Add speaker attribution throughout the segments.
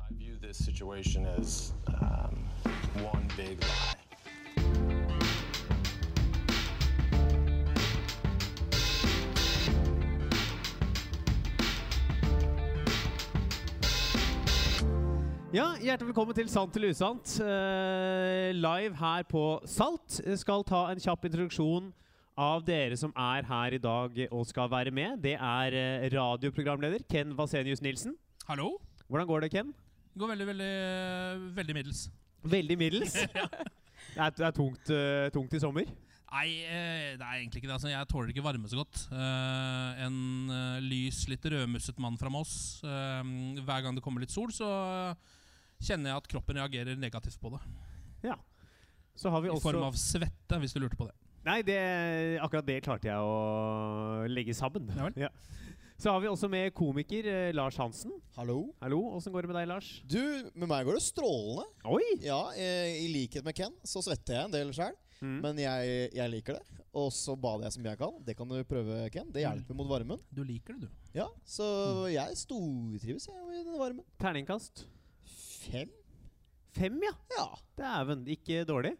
Speaker 1: I view this situation as um, one big lie.
Speaker 2: Ja, Hjertelig velkommen til Sant eller usant. Eh, live her på Salt. Jeg skal ta en kjapp introduksjon av dere som er her i dag og skal være med. Det er eh, radioprogramleder Ken Vasenius Nilsen.
Speaker 3: Hallo?
Speaker 2: Hvordan går det, Ken?
Speaker 3: Det går veldig, veldig, veldig middels.
Speaker 2: Veldig middels. det er, det er tungt, eh, tungt i sommer.
Speaker 3: Nei, eh, det er egentlig ikke det. Altså, jeg tåler ikke varme så godt. Eh, en eh, lys, litt rødmusset mann fra Moss. Eh, hver gang det kommer litt sol, så eh, kjenner jeg at kroppen reagerer negativt på det.
Speaker 2: Ja. Så har vi
Speaker 3: I
Speaker 2: også
Speaker 3: form av svette, hvis du lurte på det.
Speaker 2: Nei, det, akkurat det klarte jeg å legge sammen.
Speaker 3: Ja vel.
Speaker 2: Så har vi også med komiker eh, Lars Hansen.
Speaker 4: Hallo.
Speaker 2: Hallo, åssen går det med deg, Lars?
Speaker 4: Du, med meg går det strålende.
Speaker 2: Oi!
Speaker 4: Ja, eh, I likhet med Ken så svetter jeg en del sjøl.
Speaker 2: Mm.
Speaker 4: Men jeg, jeg liker det. Og så bader jeg som jeg kan. Det kan du prøve, Ken.
Speaker 2: Mm.
Speaker 4: Det hjelper mot varmen.
Speaker 3: Du liker det, du.
Speaker 4: Ja, Så jeg stortrives jeg i den varmen.
Speaker 2: Terningkast.
Speaker 4: Fem?
Speaker 2: Fem, ja.
Speaker 4: Ja.
Speaker 2: Dæven, ikke dårlig.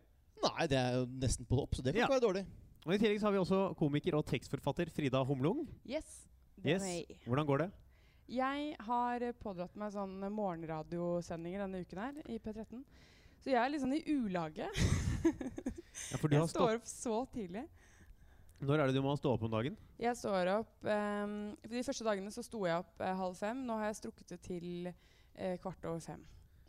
Speaker 4: Nei, det er jo nesten på topp, så det kan
Speaker 2: Ja.
Speaker 4: ikke være dårlig.
Speaker 2: Og I tillegg så har vi også komiker og tekstforfatter Frida Humlung.
Speaker 5: Yes. det
Speaker 2: Yes.
Speaker 5: var jeg.
Speaker 2: Hvordan går det?
Speaker 5: Jeg har eh, pådratt meg sånn morgenradiosendinger denne uken her i P13. Så jeg er litt sånn i ulage.
Speaker 2: Ja, for du har
Speaker 5: Jeg
Speaker 2: stå
Speaker 5: står opp så tidlig.
Speaker 2: Når er det du må stå opp om dagen?
Speaker 5: Jeg står opp ehm, for De første dagene så sto jeg opp eh, halv fem. Nå har jeg strukket det til eh, kvart over fem.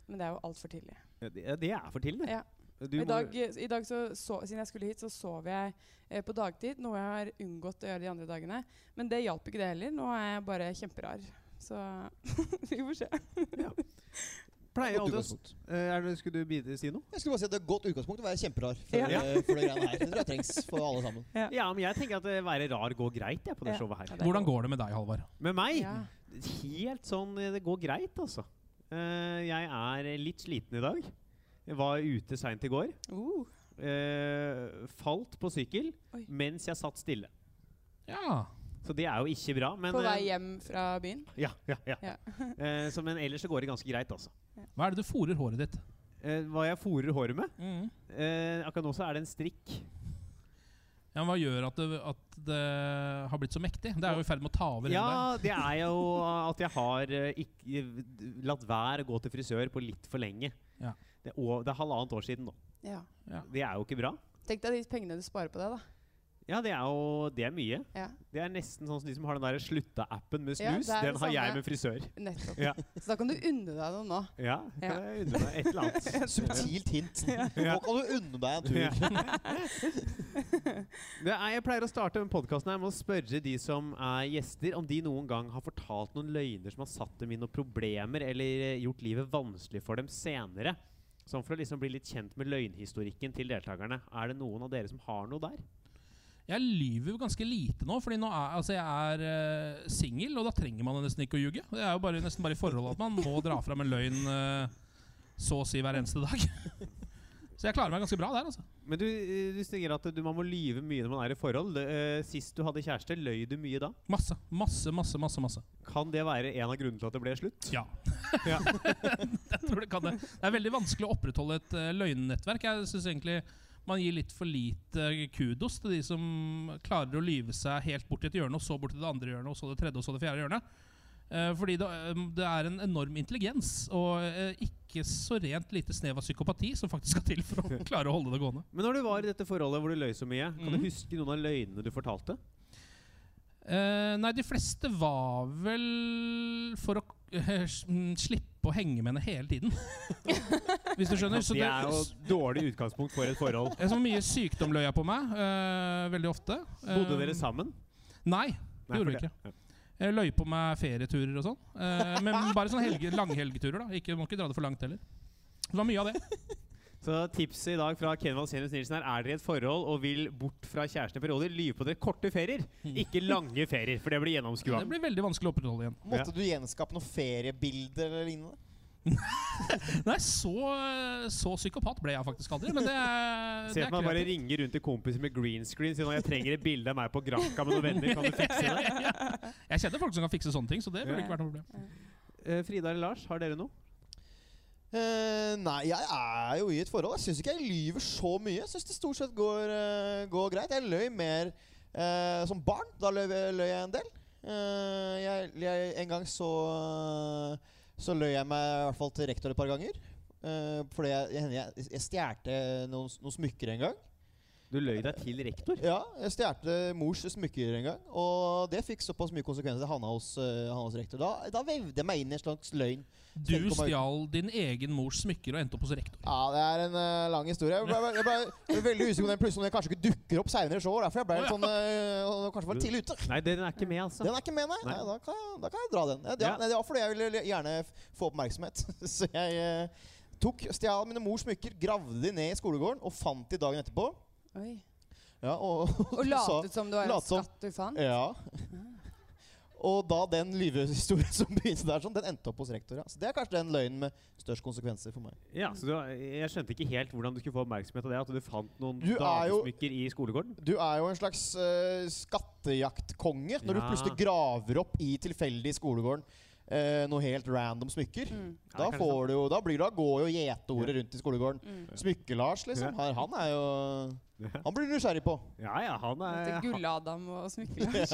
Speaker 5: Men det er jo altfor tidlig.
Speaker 2: Ja, det, ja, det er for tidlig.
Speaker 5: Ja.
Speaker 2: Du
Speaker 5: I
Speaker 2: må-
Speaker 5: dag, i dag så, så, Siden jeg skulle hit, så sov jeg eh, på dagtid. Noe jeg har unngått å gjøre de andre dagene. Men det hjalp ikke, det heller. Nå er jeg bare kjemperar. Så vi får se.
Speaker 2: pleier
Speaker 4: Godt
Speaker 2: alltid å s-
Speaker 4: utgangspunkt.
Speaker 2: Eh, er det, Skulle du bide- si noe?
Speaker 4: Jeg skulle bare si at det er et godt utgangspunkt å være kjemperar for,
Speaker 5: Ja.
Speaker 4: eh, for det greiene her. Det tror jeg trengs for alle sammen.
Speaker 2: Ja. men jeg tenker at det være rar går greit jeg, på det
Speaker 5: Ja.
Speaker 2: showet her.
Speaker 5: Ja, det er
Speaker 3: Hvordan
Speaker 5: godt.
Speaker 3: går det med deg, Halvard?
Speaker 2: Med meg?
Speaker 5: Ja.
Speaker 2: Helt sånn eh, Det går greit, altså. Eh, jeg er litt sliten i dag. Jeg var ute seint i går.
Speaker 5: Uh.
Speaker 2: Eh, falt på sykkel
Speaker 5: Oi.
Speaker 2: mens jeg satt stille.
Speaker 3: Ja.
Speaker 2: Så det er jo ikke bra. Men,
Speaker 5: På
Speaker 2: eh,
Speaker 5: vei hjem fra byen?
Speaker 2: Ja, ja, ja.
Speaker 5: Ja.
Speaker 2: Eh, så, men ellers så går det ganske greit, altså.
Speaker 3: Hva er det du fôrer håret ditt?
Speaker 2: Eh, hva jeg fôrer håret med?
Speaker 3: Mm.
Speaker 2: Eh, akkurat nå så er det en strikk.
Speaker 3: Ja, men hva gjør at det, at det har blitt så mektig? Det er jo i ferd med å ta over. hele veien.
Speaker 2: Ja, det er jo at jeg har eh, ikke, latt være å gå til frisør på litt for lenge.
Speaker 3: Ja.
Speaker 2: Det, er å- det er halvannet år siden nå.
Speaker 5: Ja.
Speaker 2: Det er jo ikke bra.
Speaker 5: Tenk deg de pengene du sparer på det, da.
Speaker 2: Ja, det er jo det er mye.
Speaker 5: Ja,
Speaker 2: Det er nesten sånn som de som har den der slutta-appen med
Speaker 5: Ja,
Speaker 2: snus.
Speaker 5: det er
Speaker 2: den
Speaker 5: det
Speaker 2: har jeg
Speaker 5: samme.
Speaker 2: med frisør.
Speaker 5: nettopp.
Speaker 2: Ja.
Speaker 5: Så da kan du unne deg noe nå.
Speaker 2: Ja, kan
Speaker 5: Ja.
Speaker 2: jeg undre meg et eller annet.
Speaker 4: Subtilt hint. Nå kan du unne deg en tur.
Speaker 2: Ja. Det er, jeg pleier å starte denne podkasten her med å spørre de som er gjester, om de noen gang har fortalt noen løgner som har satt dem i noen problemer eller eh, gjort livet vanskelig for dem senere. Sånn for å liksom bli litt kjent med løgnhistorikken til deltakerne. Er det noen av dere som har noe der?
Speaker 3: Jeg lyver jo ganske lite nå, Fordi nå er altså jeg er eh, singel, og da trenger man nesten ikke å ljuge. Det er jo bare, nesten bare i forholdet at man må dra fram en løgn eh, så å si hver eneste dag. så jeg klarer meg ganske bra der, altså.
Speaker 2: Men du, eh, du sier at du, man må lyve mye når man er i forhold. Eh, Sist du hadde kjæreste, løy du mye da?
Speaker 3: Masse, masse, masse, masse. masse
Speaker 2: Kan det være en av grunnene til at det ble slutt?
Speaker 3: Ja.
Speaker 2: Ja.
Speaker 3: jeg tror det kan det. Det er veldig vanskelig å opprettholde et eh, løgnnettverk. Jeg synes egentlig man gir litt for lite eh, kudos til de som klarer å lyve seg helt bort til et hjørne, og så bort til det andre hjørnet, og så det tredje, og så det fjerde hjørnet. Eh, Fordi det, eh, det er en enorm intelligens og eh, ikke så rent lite snev av psykopati som faktisk skal til for å klare å holde det gående.
Speaker 2: Men når du var i dette forholdet hvor du løy så mye, kan
Speaker 3: Mhm.
Speaker 2: du huske noen av løgnene du fortalte?
Speaker 3: Eh, nei, de fleste var vel for å eh, s- mm, slippe å henge med henne hele tiden. Hvis du skjønner. Så
Speaker 2: Det er jo
Speaker 3: det,
Speaker 2: dårlig utgangspunkt for et forhold.
Speaker 3: jeg så mye sykdom løy jeg på meg. eh, veldig ofte.
Speaker 2: Bodde
Speaker 3: Eh,
Speaker 2: dere sammen?
Speaker 3: Nei, det
Speaker 2: for
Speaker 3: gjorde vi ikke. Jeg løy på meg ferieturer og sånn. Eh, men bare sånne helge, langhelgeturer. da ikke, Må ikke dra det for langt heller. Det var mye av det.
Speaker 2: Så tipset i dag fra Ken Valsenius Nilsen er er dere i et forhold og vil bort fra kjærestene i perioder, lyve på dere korte ferier, ikke lange ferier, for det blir gjennomskua.
Speaker 3: Det blir veldig vanskelig å opprettholde igjen.
Speaker 4: Måtte du gjenskape noen feriebilder eller lignende?
Speaker 3: Nei, så, eh, så psykopat ble jeg faktisk aldri. Men det er,
Speaker 2: Se
Speaker 3: det er
Speaker 2: at man bare
Speaker 3: kreativt.
Speaker 2: ringer rundt til kompiser med green screen sier at jeg trenger et bilde av meg på Granca med noen venner. Kan du fikse det?
Speaker 3: Jeg kjenner folk som kan fikse sånne ting, så det burde ikke vært noe problem.
Speaker 2: Eh, Frida eller Lars, har dere noe?
Speaker 4: Eh, nei, jeg er jo i et forhold. Jeg syns ikke jeg lyver så mye. Jeg syns det stort sett går, eh, går greit. Jeg løy mer eh, som barn. Da løy, løy jeg en del. Eh, jeg, jeg, en gang så Så løy jeg meg i hvert fall til rektor et par ganger. Eh, fordi jeg, jeg, jeg, jeg stjerte noen, noen smykker en gang.
Speaker 2: Du løy deg til rektor.
Speaker 4: Ja, jeg stjerte mors smykker en gang. Og det fikk såpass mye konsekvenser. Jeg havna hos, eh, havna hos rektor. Da, da vevde jeg meg inn i en slags løgn.
Speaker 3: Du
Speaker 4: Tenk om jeg-
Speaker 3: stjal din egen mors smykker og endte opp hos rektor.
Speaker 4: Ja, det er en eh, lang historie. Jeg ble, jeg ble, jeg ble veldig usikker på den plutselig om den kanskje ikke dukker opp seinere i år. Derfor jeg ble litt sånn eh, og Kanskje var tidlig ute.
Speaker 2: Nei, den er ikke med, altså.
Speaker 4: Den er ikke med, nei. nei.
Speaker 2: Nei.
Speaker 4: da, kan jeg, da kan jeg dra den. Ja, det,
Speaker 2: Ja.
Speaker 4: nei, det var fordi jeg ville gjerne f- få oppmerksomhet. Så jeg eh, tok, stjal mine mors smykker, gravde de ned i skolegården og fant de dagen etterpå.
Speaker 5: Oi.
Speaker 4: Ja, og,
Speaker 5: Og
Speaker 4: sa-
Speaker 5: late som det var
Speaker 4: late
Speaker 5: en
Speaker 4: som.
Speaker 5: skatt du fant?
Speaker 4: Ja. Og da den lyvehistorien som begynte der, sånn, den endte opp hos rektor. Ja. Så det er kanskje den løgnen med størst konsekvenser for meg.
Speaker 2: Ja, så du, Jeg skjønte ikke helt hvordan du skulle få oppmerksomhet av det. At du fant noen
Speaker 4: Du er jo-
Speaker 2: damesmykker i skolegården.
Speaker 4: Du er jo en slags eh, skattejaktkonge når du
Speaker 2: Ja.
Speaker 4: plutselig graver opp i tilfeldig i skolegården eh, noe helt random smykker.
Speaker 5: Mm,
Speaker 2: Ja, det er
Speaker 4: Da,
Speaker 2: kanskje
Speaker 4: får du jo, da, blir, da går jo gjeteordet rundt i skolegården.
Speaker 5: mm.
Speaker 4: Smykke-Lars, liksom. Her, han er jo Han blir du nysgjerrig på.
Speaker 2: Ja, ja, han er
Speaker 5: Etter
Speaker 2: han,
Speaker 5: Gull-Adam og smykkelars.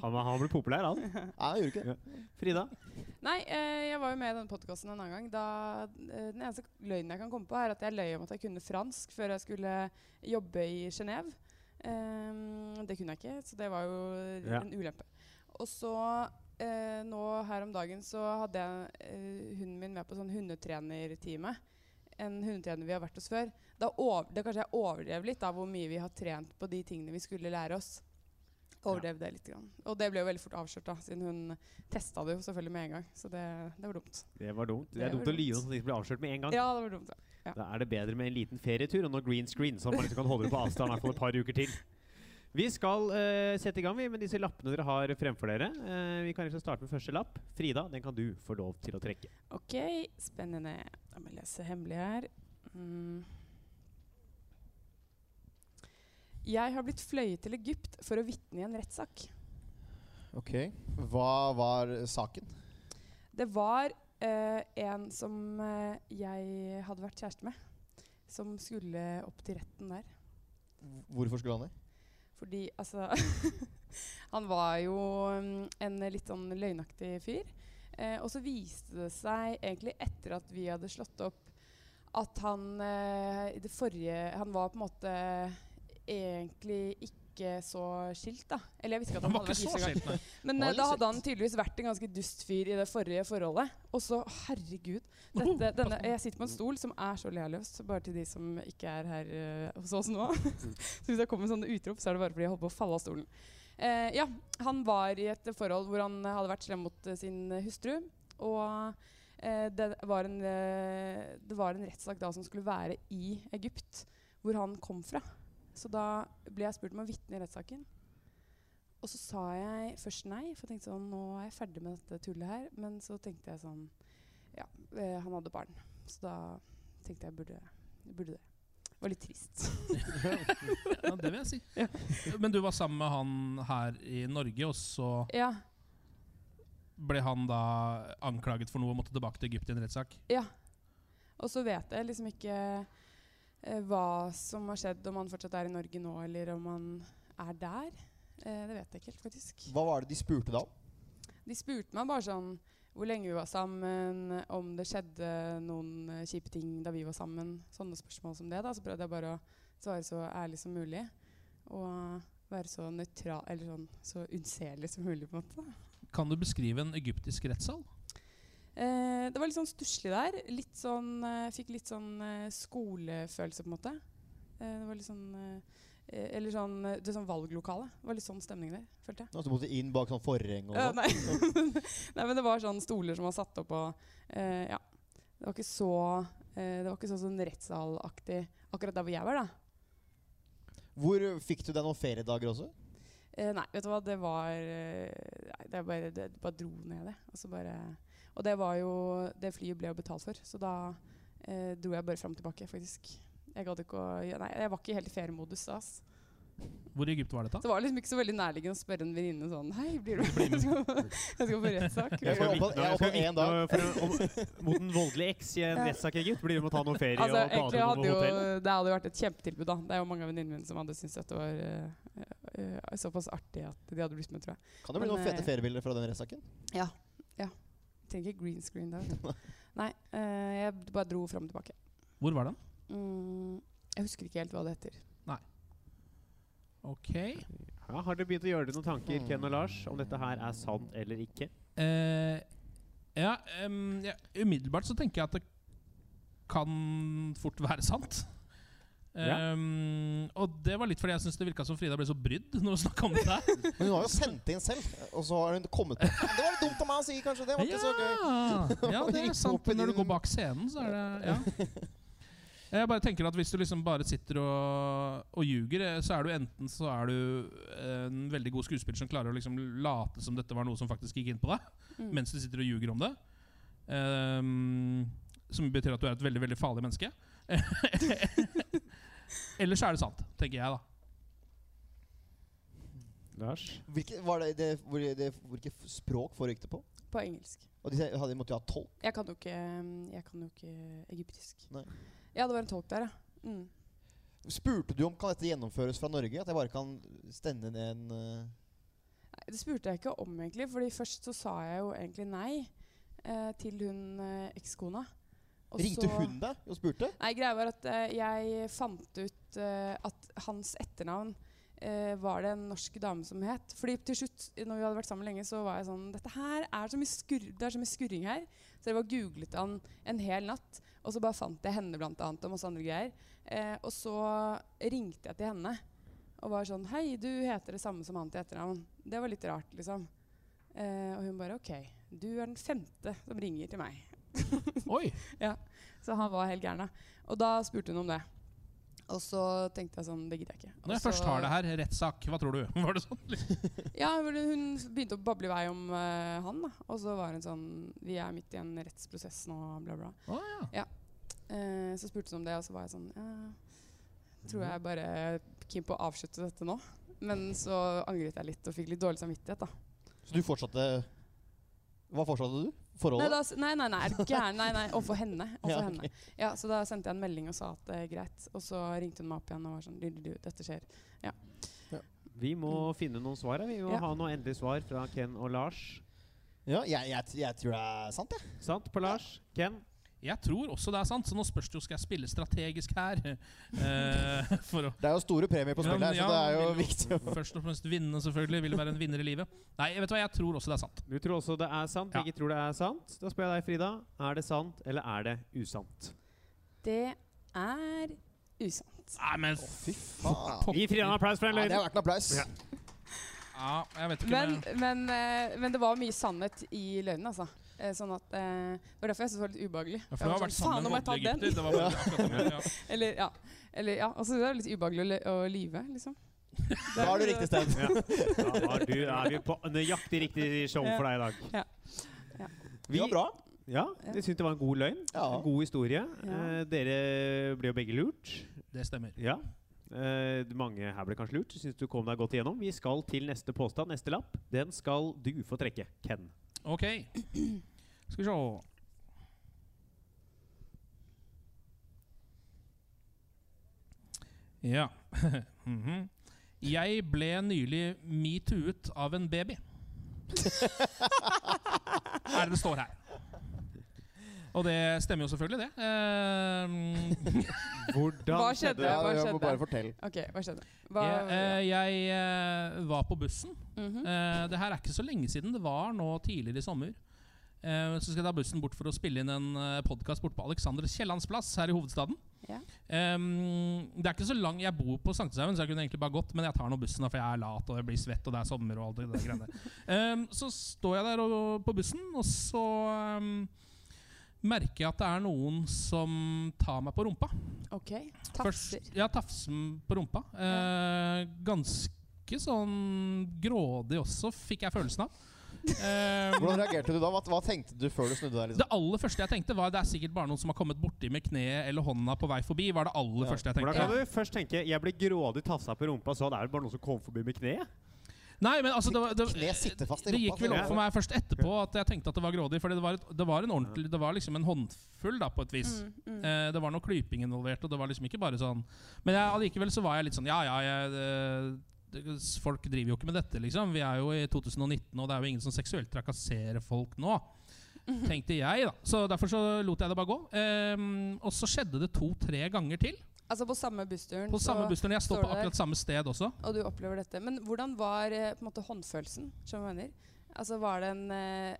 Speaker 2: han, han blir populær, han.
Speaker 4: Nei, jeg gjorde ikke det.
Speaker 2: Frida?
Speaker 5: Nei, eh, jeg var jo med i denne podkasten en annen gang. Da, eh, den eneste løgnen jeg kan komme på, er at jeg løy om at jeg kunne fransk før jeg skulle jobbe i Genéve. Ehm, det kunne jeg ikke, så det var jo
Speaker 2: Ja.
Speaker 5: en ulempe. Og så eh, nå her om dagen så hadde jeg eh, hunden min med på sånn hundetrenertime. En hundetrener vi har vært hos før. Da, over, da kanskje jeg overdrev litt av hvor mye vi har trent på de tingene vi skulle lære oss. Overdrev det litt. Grann. Og det ble jo veldig fort avslørt, da, siden hun testa det jo selvfølgelig med en gang. Så det, det var dumt.
Speaker 2: Det var dumt. Det
Speaker 5: Det
Speaker 2: er
Speaker 5: var
Speaker 2: dumt å
Speaker 5: dumt.
Speaker 2: lyve om sånne ting som blir avslørt med en gang.
Speaker 5: Ja, det var dumt. Ja.
Speaker 2: Da er det bedre med en liten ferietur og noe green screen, så man liksom kan holde det på avstand i hvert fall et par uker til. Vi skal eh, sette i gang vi, med disse lappene dere har fremfor dere. Eh, vi kan liksom starte med første lapp. Frida, den kan du få lov til å trekke.
Speaker 5: OK, spennende. La meg lese hemmelig her. Mm. Jeg har blitt fløyet til Egypt for å vitne i en rettssak.
Speaker 4: Ok. Hva var saken?
Speaker 5: Det var eh, en som eh, jeg hadde vært kjæreste med, som skulle opp til retten der.
Speaker 4: Hvorfor skulle han det?
Speaker 5: Fordi altså Han var jo mm, en litt sånn løgnaktig fyr. Eh, og så viste det seg egentlig etter at vi hadde slått opp, at han eh, i det forrige Han var på en måte eh, egentlig ikke så skilt, da. Eller jeg visste ikke at
Speaker 3: Han
Speaker 5: han
Speaker 3: var
Speaker 5: hadde
Speaker 3: ikke
Speaker 5: vært gift
Speaker 3: så
Speaker 5: engang.
Speaker 3: skilt, nei.
Speaker 5: Men
Speaker 4: Han var
Speaker 5: eh, da
Speaker 4: litt
Speaker 5: hadde han tydeligvis vært en ganske dust fyr i det forrige forholdet. Og så, herregud dette, denne, Jeg sitter på en stol som er så lealøs, så bare til de som ikke er her eh, hos oss nå. så hvis jeg kommer med sånne utrop, så er det bare fordi jeg holdt på å falle av stolen. Eh, ja, han var i et forhold hvor han eh, hadde vært slem mot eh, sin eh, hustru. Og eh, det var en, eh, det var en rettssak da som skulle være i Egypt, hvor han kom fra. Så da ble jeg spurt om å vitne i rettssaken. Og så sa jeg først nei, for jeg tenkte sånn, nå er jeg ferdig med dette tullet her. Men så tenkte jeg sånn, ja, eh, han hadde barn. Så da tenkte jeg, burde, burde det. Det var litt trist.
Speaker 3: Ja, det vil jeg si. Men du var sammen med han her i Norge, og så
Speaker 5: ja,
Speaker 3: ble han da anklaget for noe og måtte tilbake til Egypt i en rettssak.
Speaker 5: ja. Og så vet jeg liksom ikke eh, hva som har skjedd, om han fortsatt er i Norge nå, eller om han er der. Eh, det vet jeg ikke helt, faktisk.
Speaker 4: Hva var det de spurte deg om?
Speaker 5: De spurte meg bare sånn hvor lenge vi var sammen, om det skjedde noen eh, kjipe ting da vi var sammen. Sånne spørsmål som det. da, Så prøvde jeg bare å svare så ærlig som mulig. Og eh, være så nøytral, eller sånn så unnselig som mulig, på en måte. da.
Speaker 3: Kan du beskrive en egyptisk rettssal?
Speaker 5: Eh, det var litt sånn stusslig der. Litt sånn, eh, fikk litt sånn eh, skolefølelse, på en måte. Eh, det var litt sånn eh, eh, Eller sånn, eh, det er sånn valglokale. Det var litt sånn stemning der, følte jeg.
Speaker 4: Nå måtte du inn bak sånn forheng og
Speaker 5: Ja,
Speaker 4: sånn.
Speaker 5: nei. nei, men det var sånn stoler som var satt opp og eh, Ja. Det var ikke så eh, Det var ikke så sånn rettssalaktig akkurat der hvor jeg var, da.
Speaker 4: Hvor fikk du deg noen feriedager også?
Speaker 5: Eh, nei, vet du hva, det var eh, Nei, det bare, det bare dro ned, det. Og så bare Og det var jo Det flyet ble jo betalt for, så da eh, dro jeg bare fram og tilbake, faktisk. Jeg gadd ikke å ja, Nei, jeg var ikke helt i feriemodus da, ass.
Speaker 3: Hvor i Egypt var dette?
Speaker 5: Så det var liksom ikke så veldig nærliggende å spørre en venninne sånn Hei, blir du med? Jeg skal- jeg skal på rettssak.
Speaker 4: Jeg skal opp- jeg er oppe én dag.
Speaker 2: Nå, for, om, mot en voldelig eks i en
Speaker 5: Ja.
Speaker 2: rettssak, Egil. Blir du med å ta noe ferie
Speaker 5: Altså,
Speaker 2: og
Speaker 5: egentlig
Speaker 2: bade
Speaker 5: hadde
Speaker 2: på
Speaker 5: jo,
Speaker 2: hotell?
Speaker 5: det hadde jo vært et kjempetilbud, da. Det er jo mange av venninnene mine som hadde syntes dette var eh, eh, såpass artig at de hadde blitt med, tror jeg.
Speaker 4: Kan det bli
Speaker 5: Men,
Speaker 4: noen fete
Speaker 5: eh,
Speaker 4: feriebilder fra den rettssaken?
Speaker 5: Trenger ikke green screen da. vet du. Nei, eh, jeg bare dro fram og tilbake.
Speaker 3: Hvor var den?
Speaker 5: Mm, jeg husker ikke helt hva det heter.
Speaker 3: Ok. Eh,
Speaker 2: Ja, har dere begynt å gjøre dere noen tanker, Ken og Lars, om dette her er sant eller ikke?
Speaker 3: Eh, ja, em, ja, umiddelbart så tenker jeg at det kan fort være sant.
Speaker 2: Ja.
Speaker 3: Em, og det var litt fordi jeg syns det virka som Frida ble så brydd når hun snakka om det her.
Speaker 4: Men hun har jo sendt det inn selv, og så har hun kommet på Det var litt dumt av meg å si, kanskje. Det var ikke så gøy.
Speaker 3: Ja, ja, det
Speaker 4: Gikk
Speaker 3: er sant.
Speaker 4: opp i
Speaker 3: Når du
Speaker 4: din-
Speaker 3: går bak scenen, så er det ja. Jeg bare tenker at Hvis du liksom bare sitter og, og ljuger, eh, så er du enten så er du eh, en veldig god skuespiller som klarer å liksom late som dette var noe som faktisk gikk inn på deg,
Speaker 5: Mm.
Speaker 3: mens du sitter og ljuger om det. Ehm, som betyr at du er et veldig veldig farlig menneske. Eller så er det sant, tenker jeg, da.
Speaker 2: Lars?
Speaker 4: Hvilke, var det, det, hvor, det, hvilke f- språk foregikk det på?
Speaker 5: På engelsk.
Speaker 4: Og de, hadde, de måtte jo ha tolk.
Speaker 5: Jeg kan jo ikke, mm, jeg kan jo ikke egyptisk.
Speaker 4: Nei.
Speaker 5: Ja, det var en tolk der, ja. Mm.
Speaker 4: Spurte du om kan dette gjennomføres fra Norge? At jeg bare kan stende ned en eh,
Speaker 5: Nei, Det spurte jeg ikke om, egentlig. Fordi først så sa jeg jo egentlig nei eh, til hun eh, ekskona. Og
Speaker 4: Ringte
Speaker 5: så-
Speaker 4: hun deg og spurte?
Speaker 5: Nei, greia var at eh, jeg fant ut eh, at hans etternavn eh, var det en norsk dame som het. Fordi til slutt, når vi hadde vært sammen lenge, så var jeg sånn Dette her er så mye, skurr, det er så mye skurring her. Så jeg bare googlet han en hel natt. Og så bare fant jeg henne blant annet, og masse andre greier. Eh, og så ringte jeg til henne og var sånn Hei, du heter det samme som han til etternavn. Det var litt rart, liksom. Eh, og hun bare OK, du er den femte som ringer til meg.
Speaker 3: Oi!
Speaker 5: Så han var helt gæren. da. Og da spurte hun om det. Og så tenkte jeg sånn, det gidder jeg ikke. Og
Speaker 3: Når jeg
Speaker 4: Altså
Speaker 5: så-
Speaker 3: først har det her, rettssak, hva tror du? Var det sånn?
Speaker 5: Ja, hvor Hun begynte å bable i vei om eh, han, da. og så var hun sånn Vi er midt i en rettsprosess nå, bla, bla.
Speaker 3: Å, ja.
Speaker 5: Eh, så spurte hun om det, og så var jeg sånn ja, Tror jeg bare er keen på å avslutte dette nå. Men så angret jeg litt og fikk litt dårlig samvittighet, da.
Speaker 4: Så du fortsatte Hva fortsatte du?
Speaker 5: Nei,
Speaker 4: Forholdet?
Speaker 5: da, s- nei, nei, nei, er du gæren? Nei, nei, overfor henne.
Speaker 4: Ja,
Speaker 5: Overfor
Speaker 4: ok.
Speaker 5: henne. Ja, så da sendte jeg en melding og sa at det er greit. Og så ringte hun meg opp igjen og var sånn du, du, du, Dette skjer.
Speaker 2: Vi må finne noen svar. her. Vi må
Speaker 5: Ja.
Speaker 2: ha noe endelig svar fra Ken og Lars.
Speaker 4: Ja, jeg, jeg, t- jeg tror det er sant, jeg.
Speaker 2: Sant på Lars? Ken?
Speaker 3: Jeg tror også det er sant, så nå spørs det jo skal jeg spille strategisk her. Eh, for å
Speaker 4: Det er jo store premier på spillet her, så det er jo
Speaker 3: vil
Speaker 4: viktig. å-
Speaker 3: Først og fremst vinne, selvfølgelig. Vil være en vinner i livet. Nei, vet du hva, jeg tror også det er sant.
Speaker 2: Du tror også det er sant.
Speaker 3: Ja.
Speaker 2: Begge tror det er sant. Da spør jeg deg, Frida. Er det sant, eller er det usant?
Speaker 5: Det er usant.
Speaker 3: Nei, men
Speaker 4: Å, fy faen.
Speaker 3: Pop-
Speaker 2: Gi Frida en applaus for den
Speaker 4: Ja, det
Speaker 2: løgnen.
Speaker 4: er verdt en applaus.
Speaker 2: Ja.
Speaker 3: ja, jeg vet ikke
Speaker 5: Men,
Speaker 3: om jeg-
Speaker 5: men, eh, men det var mye sannhet i løgnen, altså. Eh, Sånn at, eh, det var derfor jeg syntes det var litt ubehagelig.
Speaker 3: ja, for
Speaker 5: Jeg
Speaker 3: du
Speaker 5: var
Speaker 3: har vært
Speaker 5: sånn,
Speaker 3: sammen med
Speaker 5: "Faen,
Speaker 3: en voldelig
Speaker 5: nå må
Speaker 3: egypter.
Speaker 5: jeg ta den."
Speaker 3: Det var vel akkurat det, ja.
Speaker 5: Eller, ja. Eller, ja. Altså, det er litt ubehagelig å, le- å lyve, liksom.
Speaker 4: Da har du riktig sted.
Speaker 2: Ja. Da var du, er vi på nøyaktig riktig show for deg i dag.
Speaker 5: Ja. Ja.
Speaker 4: Det var bra.
Speaker 2: Ja, jeg syns det var en god løgn.
Speaker 4: Ja.
Speaker 2: En god historie.
Speaker 5: Ja.
Speaker 2: Eh, dere ble jo begge lurt.
Speaker 3: Det stemmer.
Speaker 2: Ja. Eh, mange her ble kanskje lurt. Syns du kom deg godt igjennom. Vi skal til neste påstand, neste lapp. Den skal du få trekke, Ken.
Speaker 3: Ok. Skal vi se Ja. Mhm. Jeg ble nylig metoo-et av en baby. er det det står her. Og det stemmer jo selvfølgelig, det. Ehm,
Speaker 2: Hvordan
Speaker 5: Hva skjedde?
Speaker 4: Ja,
Speaker 5: Hva
Speaker 4: jeg må
Speaker 5: skjedde?
Speaker 4: bare fortelle.
Speaker 5: OK, hva skjedde? Hva,
Speaker 3: jeg eh, jeg eh, var på bussen.
Speaker 5: Mhm.
Speaker 3: Eh, det her er ikke så lenge siden. Det var nå tidligere i sommer. Eh, så skal jeg ta bussen bort for å spille inn en uh, podkast borte på Alexander Kiellands plass her i hovedstaden.
Speaker 5: Ja.
Speaker 3: Ehm, det er ikke så lang Jeg bor på Sankthanshaugen, så jeg kunne egentlig bare gått, men jeg tar nå bussen, da, for jeg er lat og jeg blir svett, og det er sommer og alt det der greiene der. Ehm, så står jeg der og, og på bussen, og så ehm, merker jeg at det er noen som tar meg på rumpa.
Speaker 5: OK.
Speaker 3: Først-
Speaker 5: Tafser.
Speaker 3: Ja, tafsen på rumpa. Eh, ganske sånn grådig også, fikk jeg følelsen av. Eh,
Speaker 4: Hvordan reagerte du da? Hva, hva tenkte du før du snudde deg?
Speaker 3: det
Speaker 4: liksom?
Speaker 3: aller første jeg tenkte, var det er sikkert bare noen som har kommet borti med kneet eller hånda på vei forbi. var det aller
Speaker 4: Ja.
Speaker 3: første jeg
Speaker 2: Hvordan
Speaker 3: tenkte.
Speaker 2: kan du først tenke 'jeg ble grådig tafsa på rumpa', så det er vel bare noen som kom forbi med kneet?
Speaker 3: Nei, men altså, det, var- det,
Speaker 4: Kne sitter fast i
Speaker 3: det
Speaker 4: rumpa,
Speaker 3: gikk vel
Speaker 4: så-
Speaker 3: opp for meg først etterpå at jeg tenkte at det var grådig. For det var, et, det var en ordentlig Det var liksom en håndfull, da, på et vis.
Speaker 5: Mm, mm.
Speaker 3: Eh, det var noe klyping involvert, og det var liksom ikke bare sånn Men jeg, allikevel så var jeg litt sånn Ja, ja, jeg eh, det, Folk driver jo ikke med dette, liksom. Vi er jo i 2019, og det er jo ingen som seksuelt trakasserer folk nå.
Speaker 5: Mhm.
Speaker 3: Tenkte jeg, da. Så derfor så lot jeg det bare gå. Ehm, og så skjedde det to-tre ganger til.
Speaker 5: Altså på samme bussturen.
Speaker 3: På samme
Speaker 5: så-
Speaker 3: bussturen. Jeg står på
Speaker 5: står der.
Speaker 3: akkurat samme sted også.
Speaker 5: Og du opplever dette. Men hvordan var eh, på en måte håndfølelsen? Som jeg mener? Altså Var det en, eh,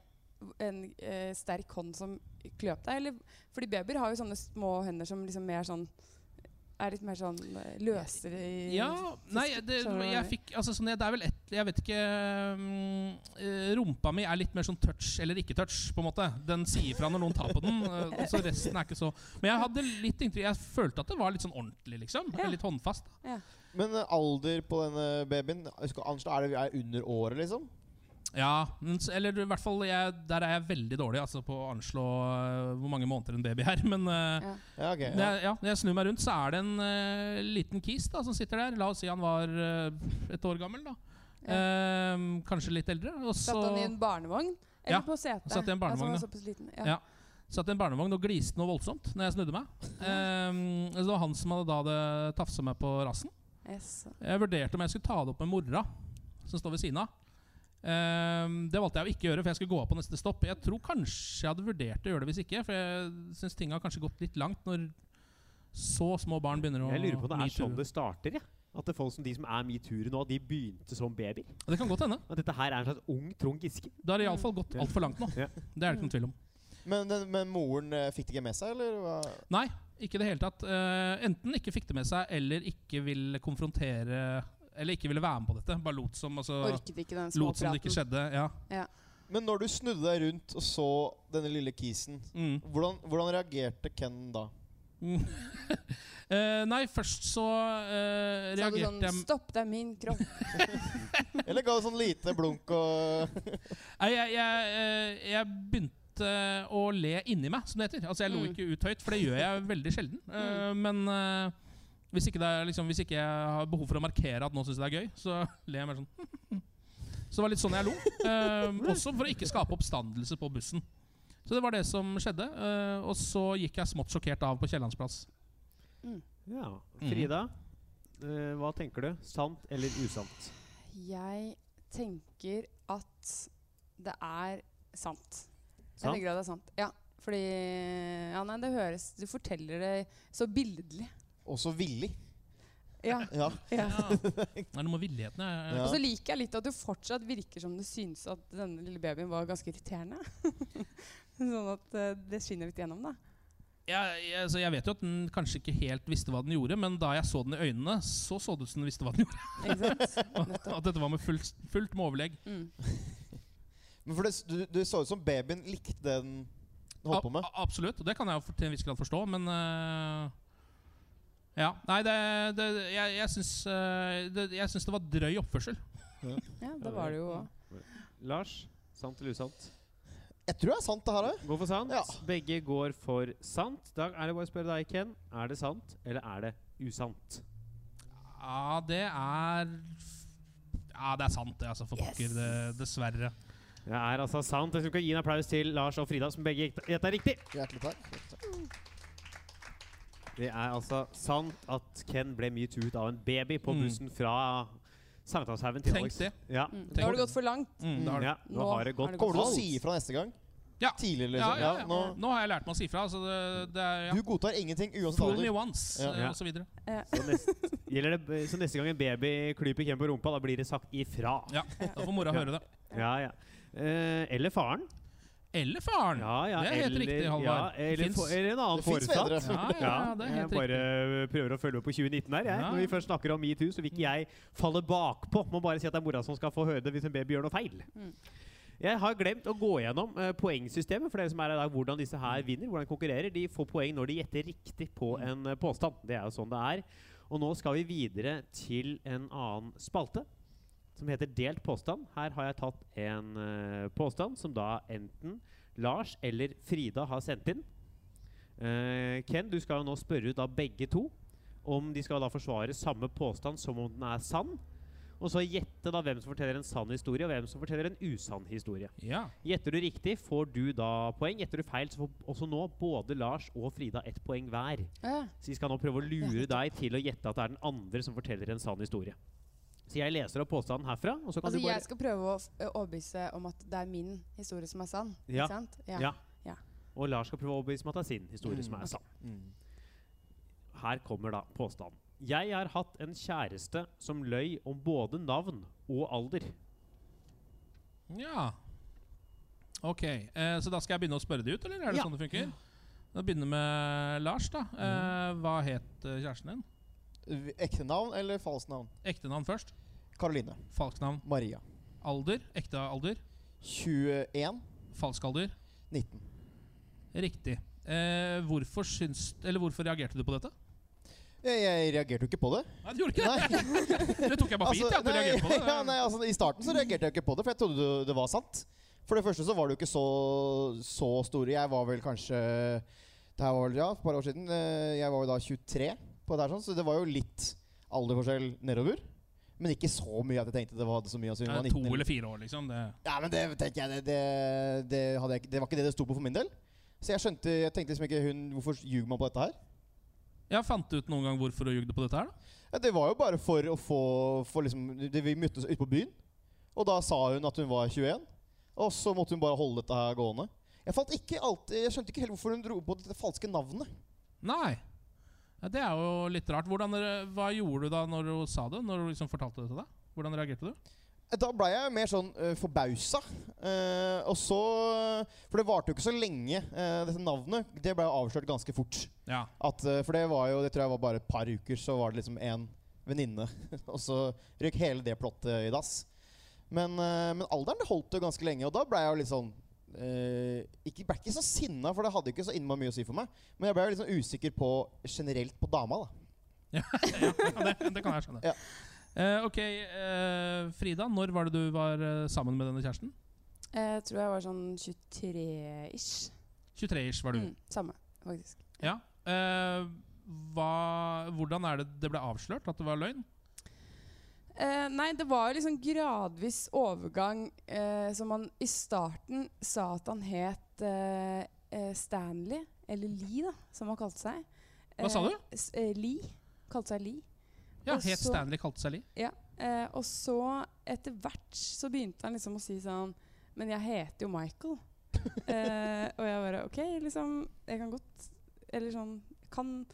Speaker 5: en eh, sterk hånd som kløp deg? Eller, fordi babyer har jo sånne små hender som liksom mer sånn er litt mer sånn eh, løsere i
Speaker 3: Ja, nei, det,
Speaker 5: skjønner du hva jeg
Speaker 3: jeg
Speaker 5: mener?
Speaker 3: fikk altså, sånn, jeg- Det er vel ett Jeg vet ikke mm, eh, Rumpa mi er litt mer sånn touch eller ikke touch, på en måte. Den sier fra når noen tar på den. eh, så resten er ikke så Men jeg hadde litt inntrykk Jeg følte at det var litt sånn ordentlig, liksom.
Speaker 5: Ja.
Speaker 3: Litt håndfast.
Speaker 4: Men eh, alder på denne babyen jeg skal anslå, er det er under året, liksom?
Speaker 3: Ja, men s- eller i hvert fall jeg, Der er jeg veldig dårlig altså, på å anslå eh, hvor mange måneder en baby er. Men eh,
Speaker 5: Ja.
Speaker 4: Ja, ok.
Speaker 3: Når
Speaker 4: Ja.
Speaker 3: jeg, ja, når jeg snur meg rundt, så er det en eh, liten kis da, som sitter der. La oss si han var eh, et år gammel, da.
Speaker 5: Ja.
Speaker 3: Ehm, kanskje litt eldre. Og så
Speaker 5: Satt han i en barnevogn? Eller
Speaker 3: Ja,
Speaker 5: på setet?
Speaker 3: satt i en barnevogn,
Speaker 5: Altså, han
Speaker 3: ja.
Speaker 5: var såpass liten.
Speaker 3: Ja.
Speaker 5: Ja.
Speaker 3: satt i en barnevogn og gliste noe voldsomt når jeg snudde meg. Ehm, det var han som hadde da hadde tafsa meg på rassen.
Speaker 5: Yes.
Speaker 3: Jeg vurderte om jeg skulle ta det opp med mora, som står ved siden av. Ehm, det valgte jeg å ikke gjøre, for jeg skulle gå av på neste stopp. Jeg tror kanskje jeg hadde vurdert å gjøre det hvis ikke, for jeg syns ting har kanskje gått litt langt når så små barn begynner å
Speaker 2: Jeg lurer på om det er
Speaker 3: metoo.
Speaker 2: sånn det starter. Ja. At det er folk som de som er metoo-ere nå, de begynte som babyer.
Speaker 3: Det kan godt hende.
Speaker 2: At dette her er en slags ung Trond Giske.
Speaker 3: Det har iallfall gått altfor langt nå.
Speaker 2: Ja.
Speaker 3: Det er det ikke noen tvil om.
Speaker 4: Men, den, men moren eh, fikk det ikke med seg, eller? Hva?
Speaker 3: Nei, ikke i det hele tatt. Eh, enten ikke fikk det med seg, eller ikke ville konfrontere Eller ikke ville være med på dette. Bare lot som, altså,
Speaker 5: Orket ikke den
Speaker 3: lot som det ikke
Speaker 5: småpraten.
Speaker 3: skjedde. Ja.
Speaker 4: Men når du snudde deg rundt og så denne lille kisen,
Speaker 3: Mm.
Speaker 4: hvordan, hvordan reagerte Ken da?
Speaker 3: Mm. Eh, nei, først så eh,
Speaker 5: Sa du
Speaker 3: reagerte
Speaker 5: sånn
Speaker 3: jeg
Speaker 5: 'Stopp, det er min kropp'.
Speaker 4: Eller ga det sånn lite blunk og
Speaker 3: Nei, jeg, jeg, eh, jeg begynte å le inni meg, som det heter. Altså, jeg lo
Speaker 5: Mm.
Speaker 3: ikke ut høyt, for det gjør jeg veldig sjelden. Eh, men eh, hvis, ikke det er, liksom, hvis ikke jeg har behov for å markere at nå syns jeg det er gøy, så ler jeg mer sånn. Så det var litt sånn jeg lo. Eh, også for å ikke skape oppstandelse på bussen. Så det var det som skjedde. eh, og så gikk jeg smått sjokkert av på Kiellands plass.
Speaker 2: Ja.
Speaker 3: Mhm.
Speaker 2: Frida, eh, hva tenker du? Sant eller usant?
Speaker 5: Jeg tenker at det er sant. Jeg
Speaker 2: Sant?
Speaker 5: tenker at det er sant. Ja, fordi Ja, nei, det høres Du forteller det så billedlig.
Speaker 4: Også villig.
Speaker 5: Ja.
Speaker 4: Ja.
Speaker 5: ja.
Speaker 3: Nei, noe med villigheten jeg- jeg-
Speaker 4: Ja.
Speaker 5: Og så liker jeg litt at du fortsatt virker som du syns at denne lille babyen var ganske irriterende. sånn at eh, det skinner litt gjennom, da.
Speaker 3: jeg, jeg, så jeg vet jo at den kanskje ikke helt visste hva den gjorde, men da jeg så den i øynene, så så det ut som den visste hva den gjorde.
Speaker 5: Ikke sant? Nettopp.
Speaker 3: At dette var med fullt, fullt med overlegg.
Speaker 5: Mm.
Speaker 4: Men for det, s- du, du så ut som babyen likte det den holdt på med.
Speaker 3: A- a- Absolutt, og det kan jeg jo for- til en viss grad forstå, men øh, Ja. Nei, det, det Jeg, jeg syns øh, det, jeg syns det var drøy oppførsel.
Speaker 5: Ja, det var det jo òg.
Speaker 2: Lars, sant eller usant?
Speaker 4: Jeg tror det er sant, det her òg.
Speaker 2: Gå for sant.
Speaker 4: Ja.
Speaker 2: Begge går for sant. Da er det bare å spørre deg, Ken. Er det sant, eller er det usant?
Speaker 3: Ja, det er Ja, det er sant, det, altså, for
Speaker 5: Yes.
Speaker 3: pokker. Det, dessverre.
Speaker 2: Det er altså sant. Jeg skal gi en applaus til Lars og Frida, som begge gjetta riktig.
Speaker 4: Hjertelig takk. Hjertelig takk.
Speaker 2: Det er altså sant at Ken ble metoo-et av en baby på
Speaker 3: Mm.
Speaker 2: bussen fra Sankthanshaugen til
Speaker 3: Tenk
Speaker 2: Alex.
Speaker 3: det.
Speaker 2: Ja.
Speaker 5: Mm.
Speaker 3: Tenk
Speaker 5: Da har
Speaker 3: på-
Speaker 5: det gått for langt.
Speaker 3: Mm, det har det.
Speaker 2: ja. Nå
Speaker 5: Nå
Speaker 2: har det
Speaker 5: har
Speaker 2: gått
Speaker 5: det gått
Speaker 4: Kommer du til å
Speaker 2: alt.
Speaker 4: si ifra neste gang?
Speaker 3: Ja.
Speaker 4: Tidligere,
Speaker 3: Ja,
Speaker 4: liksom?
Speaker 3: ja, ja.
Speaker 4: nå,
Speaker 3: Nå har jeg lært meg å si fra, så det, det er ja.
Speaker 4: Du godtar ingenting uansett
Speaker 3: Fool me
Speaker 4: alder.
Speaker 3: once,
Speaker 4: Ja.
Speaker 3: øh,
Speaker 2: Ja.
Speaker 3: og så videre.
Speaker 2: Så neste, gjelder det, så neste gang en baby klyper Ken på rumpa, da blir det sagt ifra.
Speaker 3: Ja, Da får mora høre det.
Speaker 2: Ja, ja. Eh, eller faren.
Speaker 3: Eller faren.
Speaker 2: Ja, ja,
Speaker 3: det er helt
Speaker 2: eller,
Speaker 3: riktig, Halvard.
Speaker 2: Ja, eller,
Speaker 3: Fins.
Speaker 2: for, eller en annen
Speaker 4: Det fins
Speaker 2: foresatt.
Speaker 4: fedre.
Speaker 3: Ja, ja, det er
Speaker 2: jeg
Speaker 3: helt
Speaker 2: bare
Speaker 3: riktig.
Speaker 2: prøver å følge med på 2019 her. Jeg.
Speaker 3: Ja.
Speaker 2: Når vi først snakker om metoo, så vil ikke jeg falle bakpå. Må bare si at det er mora som skal få høre det hvis en baby gjør noe feil.
Speaker 5: Mm.
Speaker 2: Jeg har glemt å gå gjennom eh, poengsystemet for dere som er her i dag. Hvordan disse
Speaker 3: Mm.
Speaker 2: her vinner, hvordan de konkurrerer. De får poeng når de gjetter riktig på en eh, påstand. Det er jo sånn det er. Og nå skal vi videre til en annen spalte. Som som heter Delt påstand. Her har jeg tatt en eh, påstand som da enten Lars eller Frida har sendt inn. Eh, Ken, du skal jo nå spørre ut av begge to om de skal da forsvare samme påstand som om den er sann. Og så gjette da hvem som forteller en sann historie, og hvem som forteller en usann historie.
Speaker 3: Ja.
Speaker 2: Gjetter du riktig, får du da poeng. Gjetter du feil, så får også nå både Lars og Frida ett poeng hver.
Speaker 5: Ja.
Speaker 2: Så vi skal nå prøve å lure deg til å gjette at det er den andre som forteller en sann historie. Så jeg leser opp påstanden herfra, og så kan
Speaker 5: Altså,
Speaker 2: du bare
Speaker 5: jeg skal prøve å f- ø, overbevise om at det er min historie som er sann.
Speaker 2: Ja.
Speaker 5: Ikke sant?
Speaker 2: Ja.
Speaker 5: Ja.
Speaker 2: Og Lars skal prøve å overbevise meg at det er sin historie som
Speaker 5: ok.
Speaker 2: er sann. Her kommer da påstanden. Jeg har hatt en kjæreste som løy om både navn og alder.
Speaker 3: ja. Ok, eh, så da skal jeg begynne å spørre det ut, eller er det
Speaker 2: Ja.
Speaker 3: sånn det funker? Da begynner med Lars, da. Eh,
Speaker 4: Mhm.
Speaker 3: hva het eh, kjæresten din?
Speaker 4: Ektenavn eller falsnavn?
Speaker 3: Ektenavn først.
Speaker 4: Karoline.
Speaker 3: Falsknavn.
Speaker 4: Maria.
Speaker 3: Alder. Ekte alder.
Speaker 4: 21.
Speaker 3: Falsk alder.
Speaker 4: 19.
Speaker 3: Riktig. Eh, hvorfor, syns, eller hvorfor reagerte du på dette?
Speaker 4: Jeg, jeg reagerte jo ikke på det.
Speaker 3: Nei, du gjorde ikke det!
Speaker 4: Nei,
Speaker 3: Det tok jeg bare for gitt.
Speaker 4: altså,
Speaker 3: ja, at du
Speaker 4: nei,
Speaker 3: reagerte på det.
Speaker 4: ja, nei, altså, I starten så reagerte jeg ikke på det, for jeg trodde det- det var sant. For det første så var det jo ikke så, så store. Jeg var vel kanskje Det her var vel, ja, for et par år siden. eh, Jeg var jo da 23, på det her, sånn, så det var jo litt alderforskjell nedover. Men ikke så mye at jeg tenkte det var hadde så mye å si.
Speaker 3: Eh,
Speaker 4: om hun var
Speaker 3: to
Speaker 4: 19
Speaker 3: eller fire år, liksom. Det.
Speaker 4: Ja, men det tenker jeg Det, det, det, hadde jeg, ikke- det var ikke det det sto på for min del. Så jeg skjønte, jeg tenkte liksom ikke hun, Hvorfor ljuger man på dette her?
Speaker 3: Jeg fant ut noen gang hvorfor du jugde på dette her, da.
Speaker 4: Ja, det var jo bare for å få for liksom, det, Vi møttes ute på byen, og da sa hun at hun var 21. Og så måtte hun bare holde dette her gående. Jeg, fant ikke alltid, jeg skjønte ikke helt hvorfor hun dro på dette falske navnet.
Speaker 3: Nei. Ja, det er jo litt rart. Hvordan, dere- hva gjorde du da når hun sa det? Når hun liksom fortalte det til deg? Hvordan reagerte du?
Speaker 4: Da ble jeg mer sånn uh, forbausa. eh, og så For det varte jo ikke så lenge, eh, dette navnet. Det ble avslørt ganske fort.
Speaker 3: Ja.
Speaker 4: At, eh, for det var jo, det tror jeg var bare et par uker, så var det liksom en venninne. og så røk hele det plottet i dass. Men, eh, men alderen det holdt jo ganske lenge, og da ble jeg jo litt sånn eh, ikke, ble ikke så sinna, for det hadde ikke så innmari mye å si for meg. Men jeg ble jo litt sånn usikker på generelt på dama. da
Speaker 3: ja det, det kan jeg skjønne.
Speaker 4: Ja.
Speaker 3: Eh, ok, eh, Frida. Når var det du var eh, sammen med denne kjæresten?
Speaker 5: Jeg tror jeg var sånn 23-ish.
Speaker 3: 23-ish var du.
Speaker 5: Mm, samme, faktisk.
Speaker 3: Ja. Eh, hva, hvordan er det det ble avslørt at det var løgn?
Speaker 5: Eh, nei, det var jo liksom gradvis overgang. eh, som han i starten sa at han het eh, eh, Stanley, eller Lee, da, som han kalte seg.
Speaker 3: Hva sa
Speaker 5: Eh,
Speaker 3: du?
Speaker 5: s- eh, Lee. Kalte seg Lee.
Speaker 3: Ja,
Speaker 5: Og
Speaker 3: Het
Speaker 5: så-
Speaker 3: Stanley kalte seg Lee.
Speaker 5: Eh, og så, etter hvert, så begynte han liksom å si sånn Men jeg heter jo Michael. eh, og jeg bare OK, liksom. Jeg kan godt Eller sånn Kan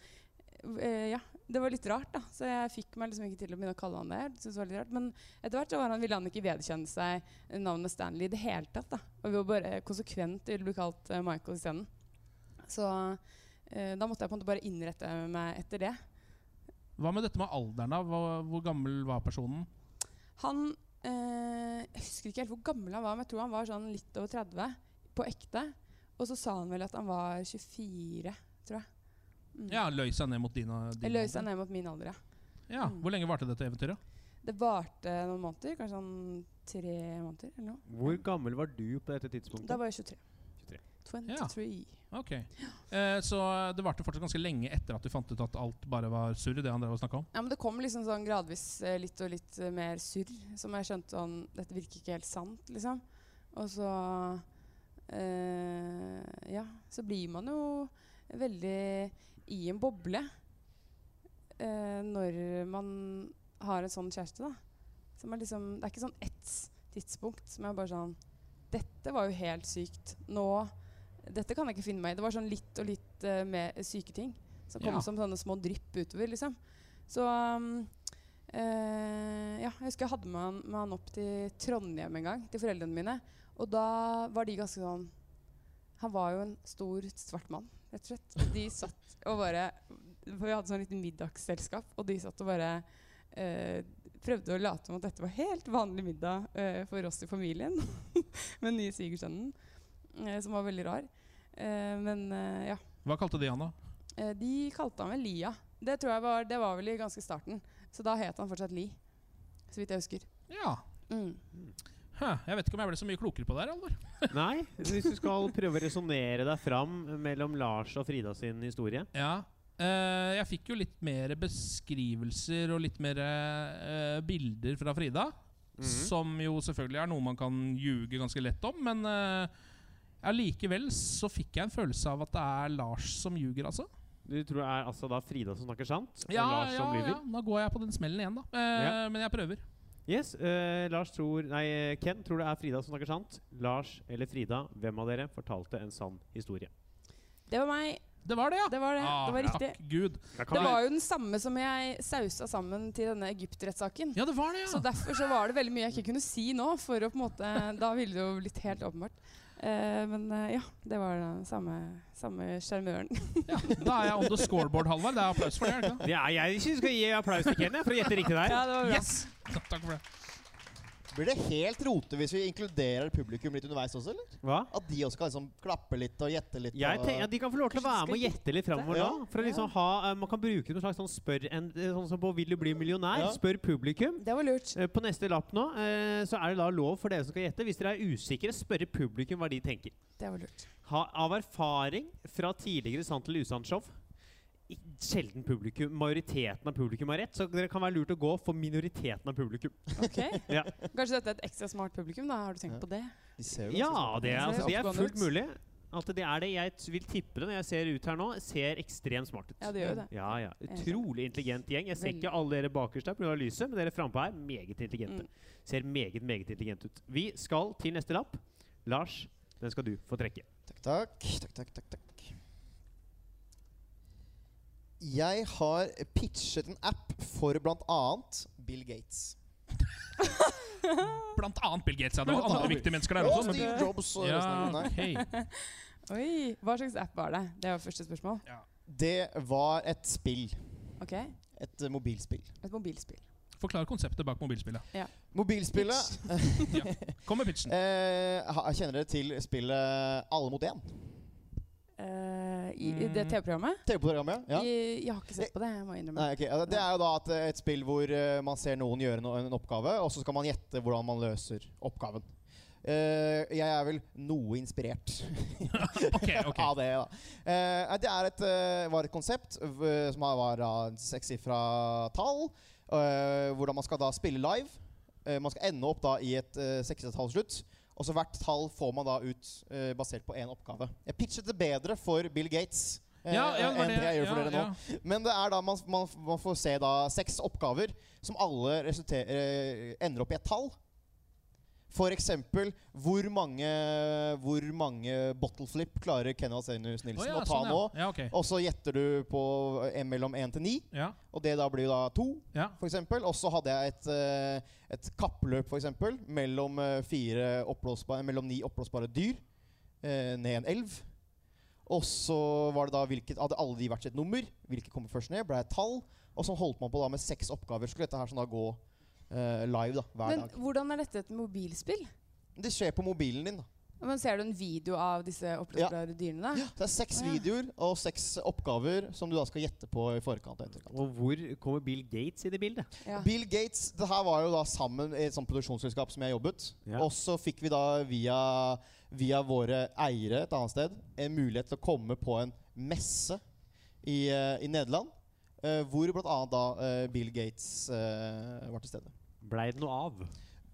Speaker 5: eh, Ja. Det var litt rart, da. Så jeg fikk meg liksom ikke til å begynne å kalle han det. Jeg syntes det var litt rart. Men etter hvert så var han, ville han ikke vedkjenne seg navnet Stanley i det hele tatt. da. Og vi var bare konsekvent ville bli kalt eh, Michael isteden. Så eh, da måtte jeg på en måte bare innrette meg etter det.
Speaker 3: Hva med dette med alderen? da? Hva, hvor gammel var personen?
Speaker 5: Han eh, Jeg husker ikke helt hvor gammel han var, men jeg tror han var sånn litt over 30 på ekte. Og så sa han vel at han var 24. Mm.
Speaker 3: Ja, Løy seg ned mot din og din
Speaker 5: Jeg løy seg
Speaker 3: alder.
Speaker 5: ned mot min alder, ja.
Speaker 3: Ja,
Speaker 5: Mm.
Speaker 3: Hvor lenge varte dette eventyret?
Speaker 5: Det varte noen måneder, kanskje sånn tre måneder eller noe.
Speaker 2: Hvor gammel var du på dette tidspunktet?
Speaker 5: Da var jeg 23.
Speaker 2: 23.
Speaker 5: 23.
Speaker 3: Ok. Eh, så det varte fortsatt ganske lenge etter at du fant ut at alt bare var surr? Det han drev og snakket om.
Speaker 5: Ja, men det kom liksom sånn gradvis eh, litt og litt eh, mer surr, som jeg skjønte sånn Dette virker ikke helt sant, liksom. Og så eh, Ja, så blir man jo veldig i en boble eh, når man har en sånn kjæreste, da. Som er liksom Det er ikke sånn ett tidspunkt som er bare sånn Dette var jo helt sykt. Nå Dette kan jeg ikke finne meg i. Det var sånn litt og litt eh, mer syke ting som kom
Speaker 3: Ja.
Speaker 5: som sånne små drypp utover, liksom. Så um, eh, Ja, jeg husker jeg hadde med han, med han opp til Trondheim en gang, til foreldrene mine. Og da var de ganske sånn Han var jo en stor, svart mann, rett og slett. De satt og bare For vi hadde sånn liten middagsselskap, og de satt og bare eh, prøvde å late som at dette var helt vanlig middag eh, for oss i familien. med den nye svigersønnen, eh, som var veldig rar. Eh, men eh, ja.
Speaker 3: Hva kalte de han, da?
Speaker 5: Eh, De kalte han vel Lia. Det tror jeg var, det var vel i ganske starten. Så da het han fortsatt Li, så vidt jeg husker.
Speaker 3: Ja,
Speaker 5: Mm.
Speaker 3: Hæ, jeg vet ikke om jeg ble så mye klokere på det her, Alvor.
Speaker 2: Nei, hvis du skal prøve å resonnere deg fram mellom Lars og Frida sin historie
Speaker 3: Ja. Eh, jeg fikk jo litt mer beskrivelser og litt mer eh, bilder fra Frida.
Speaker 2: Mhm.
Speaker 3: Som jo selvfølgelig er noe man kan ljuge ganske lett om, men eh, allikevel så fikk jeg en følelse av at det er Lars som ljuger, altså.
Speaker 2: Du tror det er altså da Frida som snakker sant, og
Speaker 3: Ja,
Speaker 2: Lars
Speaker 3: ja,
Speaker 2: som lyver?
Speaker 3: ja, da går jeg på den smellen igjen, da. Eh,
Speaker 2: Ja.
Speaker 3: Men jeg prøver.
Speaker 2: Yes, eh, Lars tror, nei, Ken tror det er Frida som snakker sant. Lars eller Frida, hvem av dere fortalte en sann historie?
Speaker 5: Det var meg.
Speaker 3: Det var det, ja!
Speaker 5: Det var det.
Speaker 3: Ah,
Speaker 5: det var riktig.
Speaker 3: Takk Gud.
Speaker 5: Det var jo den samme som jeg sausa sammen til denne egyptrettssaken.
Speaker 3: Ja, det var det, ja!
Speaker 5: Så derfor så var det veldig mye jeg ikke kunne si nå, for å på en måte Da ville det jo blitt helt åpenbart. Eh, men eh, ja, det var den samme, samme sjarmøren.
Speaker 3: Da er jeg on the scoreboard, Halvard. Det er applaus for det. er det ikke det?
Speaker 2: Ja, jeg synes vi skal gi applaus til Ken jeg, for å gjette riktig der.
Speaker 5: Ja, det var bra.
Speaker 3: Yes! Ja, Takk for det.
Speaker 4: Blir det helt rote hvis vi inkluderer publikum litt underveis også, eller?
Speaker 2: Hva?
Speaker 4: At de også kan liksom klappe litt og gjette litt?
Speaker 2: Jeg
Speaker 4: og,
Speaker 2: tenker at De kan få lov til å være med og gjette litt framover nå.
Speaker 4: Ja.
Speaker 2: For å liksom ha, eh, Man kan bruke noe slags sånn spør en, eh, Sånn som på 'Vil du bli millionær?'
Speaker 4: Ja.
Speaker 2: Spør publikum.
Speaker 5: Det var lurt.
Speaker 2: Eh, På neste lapp nå eh, så er det da lov for dere som skal gjette. Hvis dere er usikre, spørre publikum hva de tenker.
Speaker 5: Det var lurt.
Speaker 2: Ha, av erfaring fra tidligere Sant eller usant-show i- Sjelden publikum, majoriteten av publikum har rett, så dere kan være lurt å gå for minoriteten av publikum.
Speaker 5: Ok.
Speaker 2: Ja.
Speaker 5: Kanskje dette er et ekstra smart publikum? da, Har du tenkt
Speaker 4: Ja.
Speaker 5: på det?
Speaker 4: de ser jo sånn.
Speaker 2: Ja, det er, altså, det er
Speaker 5: Oppegående
Speaker 2: fullt
Speaker 5: ut.
Speaker 2: mulig. At det er det. Jeg t- vil tippe det når jeg ser ut her nå. Ser ekstremt smart ut.
Speaker 5: Ja, det gjør jo det.
Speaker 2: Ja, ja. Utrolig intelligent gjeng. Jeg ser
Speaker 5: Veldig.
Speaker 2: ikke alle dere bakerst der pga. lyset, men dere frampå her, meget
Speaker 5: Mm.
Speaker 2: intelligente. Ser meget, meget intelligente ut. Vi skal til neste lapp. Lars, den skal du få trekke.
Speaker 4: Takk, takk, takk, takk, takk, takk. Jeg har pitchet en app for bl.a. Bill Gates.
Speaker 3: Blant annet Bill Gates. Ja, det var
Speaker 4: Blant
Speaker 3: andre
Speaker 4: annet.
Speaker 3: viktige mennesker der
Speaker 4: Og
Speaker 3: også. Men
Speaker 4: Steve Jobs og resten
Speaker 3: ja,
Speaker 4: av grunnen.
Speaker 3: ok.
Speaker 5: Oi, Hva slags app var det? Det var første spørsmål.
Speaker 4: Det var et spill.
Speaker 5: Ok, Et
Speaker 4: Et eh, mobilspill.
Speaker 5: mobilspill.
Speaker 3: Forklar konseptet bak mobilspillet.
Speaker 4: Mobilspillet
Speaker 3: Kom med pitchen.
Speaker 4: eh, ha- Kjenner dere til spillet Alle mot én?
Speaker 5: Eh, i, i
Speaker 3: Mm.
Speaker 5: det TV-programmet?
Speaker 4: TV-programmet? Ja.
Speaker 5: Jeg, jeg har ikke sett på det, jeg må innrømme.
Speaker 4: Nei, ok. Ja, Det er jo da et, et spill hvor eh, man ser noen gjøre no en oppgave, og så skal man gjette hvordan man løser oppgaven. Eh, jeg er vel noe inspirert
Speaker 3: Ok, ok.
Speaker 4: av det, da. Eh, nei, det er et, eh, var et konsept v- som har- var da sekssifra tall, eh, hvordan man skal da spille live. Eh, man skal ende opp da i et uh, sekstall slutt. Og så hvert tall får man da ut eh, basert på én oppgave. Jeg pitchet det bedre for Bill Gates eh,
Speaker 3: Ja, ja, det var
Speaker 4: enn det jeg gjør for
Speaker 3: ja,
Speaker 4: dere nå.
Speaker 3: ja.
Speaker 4: Men det er da man, man, man får se da seks oppgaver som alle resulter- eh, ender opp i et tall. For eksempel hvor mange, hvor mange bottle flip klarer Kenvald Senus
Speaker 3: Å,
Speaker 4: Nilsen
Speaker 3: ja,
Speaker 4: å ta
Speaker 3: sånn, ja.
Speaker 4: nå?
Speaker 3: Ja, ok.
Speaker 4: Og så gjetter du på eh, mellom én til ni,
Speaker 3: Ja,
Speaker 4: og det da blir da to.
Speaker 3: ja.
Speaker 4: for eksempel. Og så hadde jeg et, eh, et kappløp for eksempel, mellom, eh, fire oppblåsbare, mellom ni oppblåsbare dyr eh, ned en elv. Og så var det da hvilket, hadde alle de hvert sitt nummer. Hvilket kommer først ned? Ble et tall. Og så holdt man på da med seks oppgaver. Skulle dette her sånn da gå eh, live da, hver
Speaker 5: Men
Speaker 4: dag.
Speaker 5: hvordan er dette et mobilspill?
Speaker 4: Det skjer på mobilen din. da.
Speaker 5: Men Ser du en video av disse oppblåsbare dyrene? da?
Speaker 4: Så det er seks
Speaker 5: Å, ja.
Speaker 4: videoer og seks oppgaver som du da skal gjette på i forkant. og etterkant.
Speaker 2: Og hvor kommer Bill Gates inn i bildet?
Speaker 5: Ja.
Speaker 4: Bill Gates Det her var jo da sammen i et sånt produksjonsselskap som jeg jobbet.
Speaker 2: Ja.
Speaker 4: Og så fikk vi da via, via våre eiere et annet sted en mulighet til å komme på en messe i, eh, i Nederland. eh, hvor bl.a. da eh, Bill Gates eh, var til stede.
Speaker 2: Blei det noe av?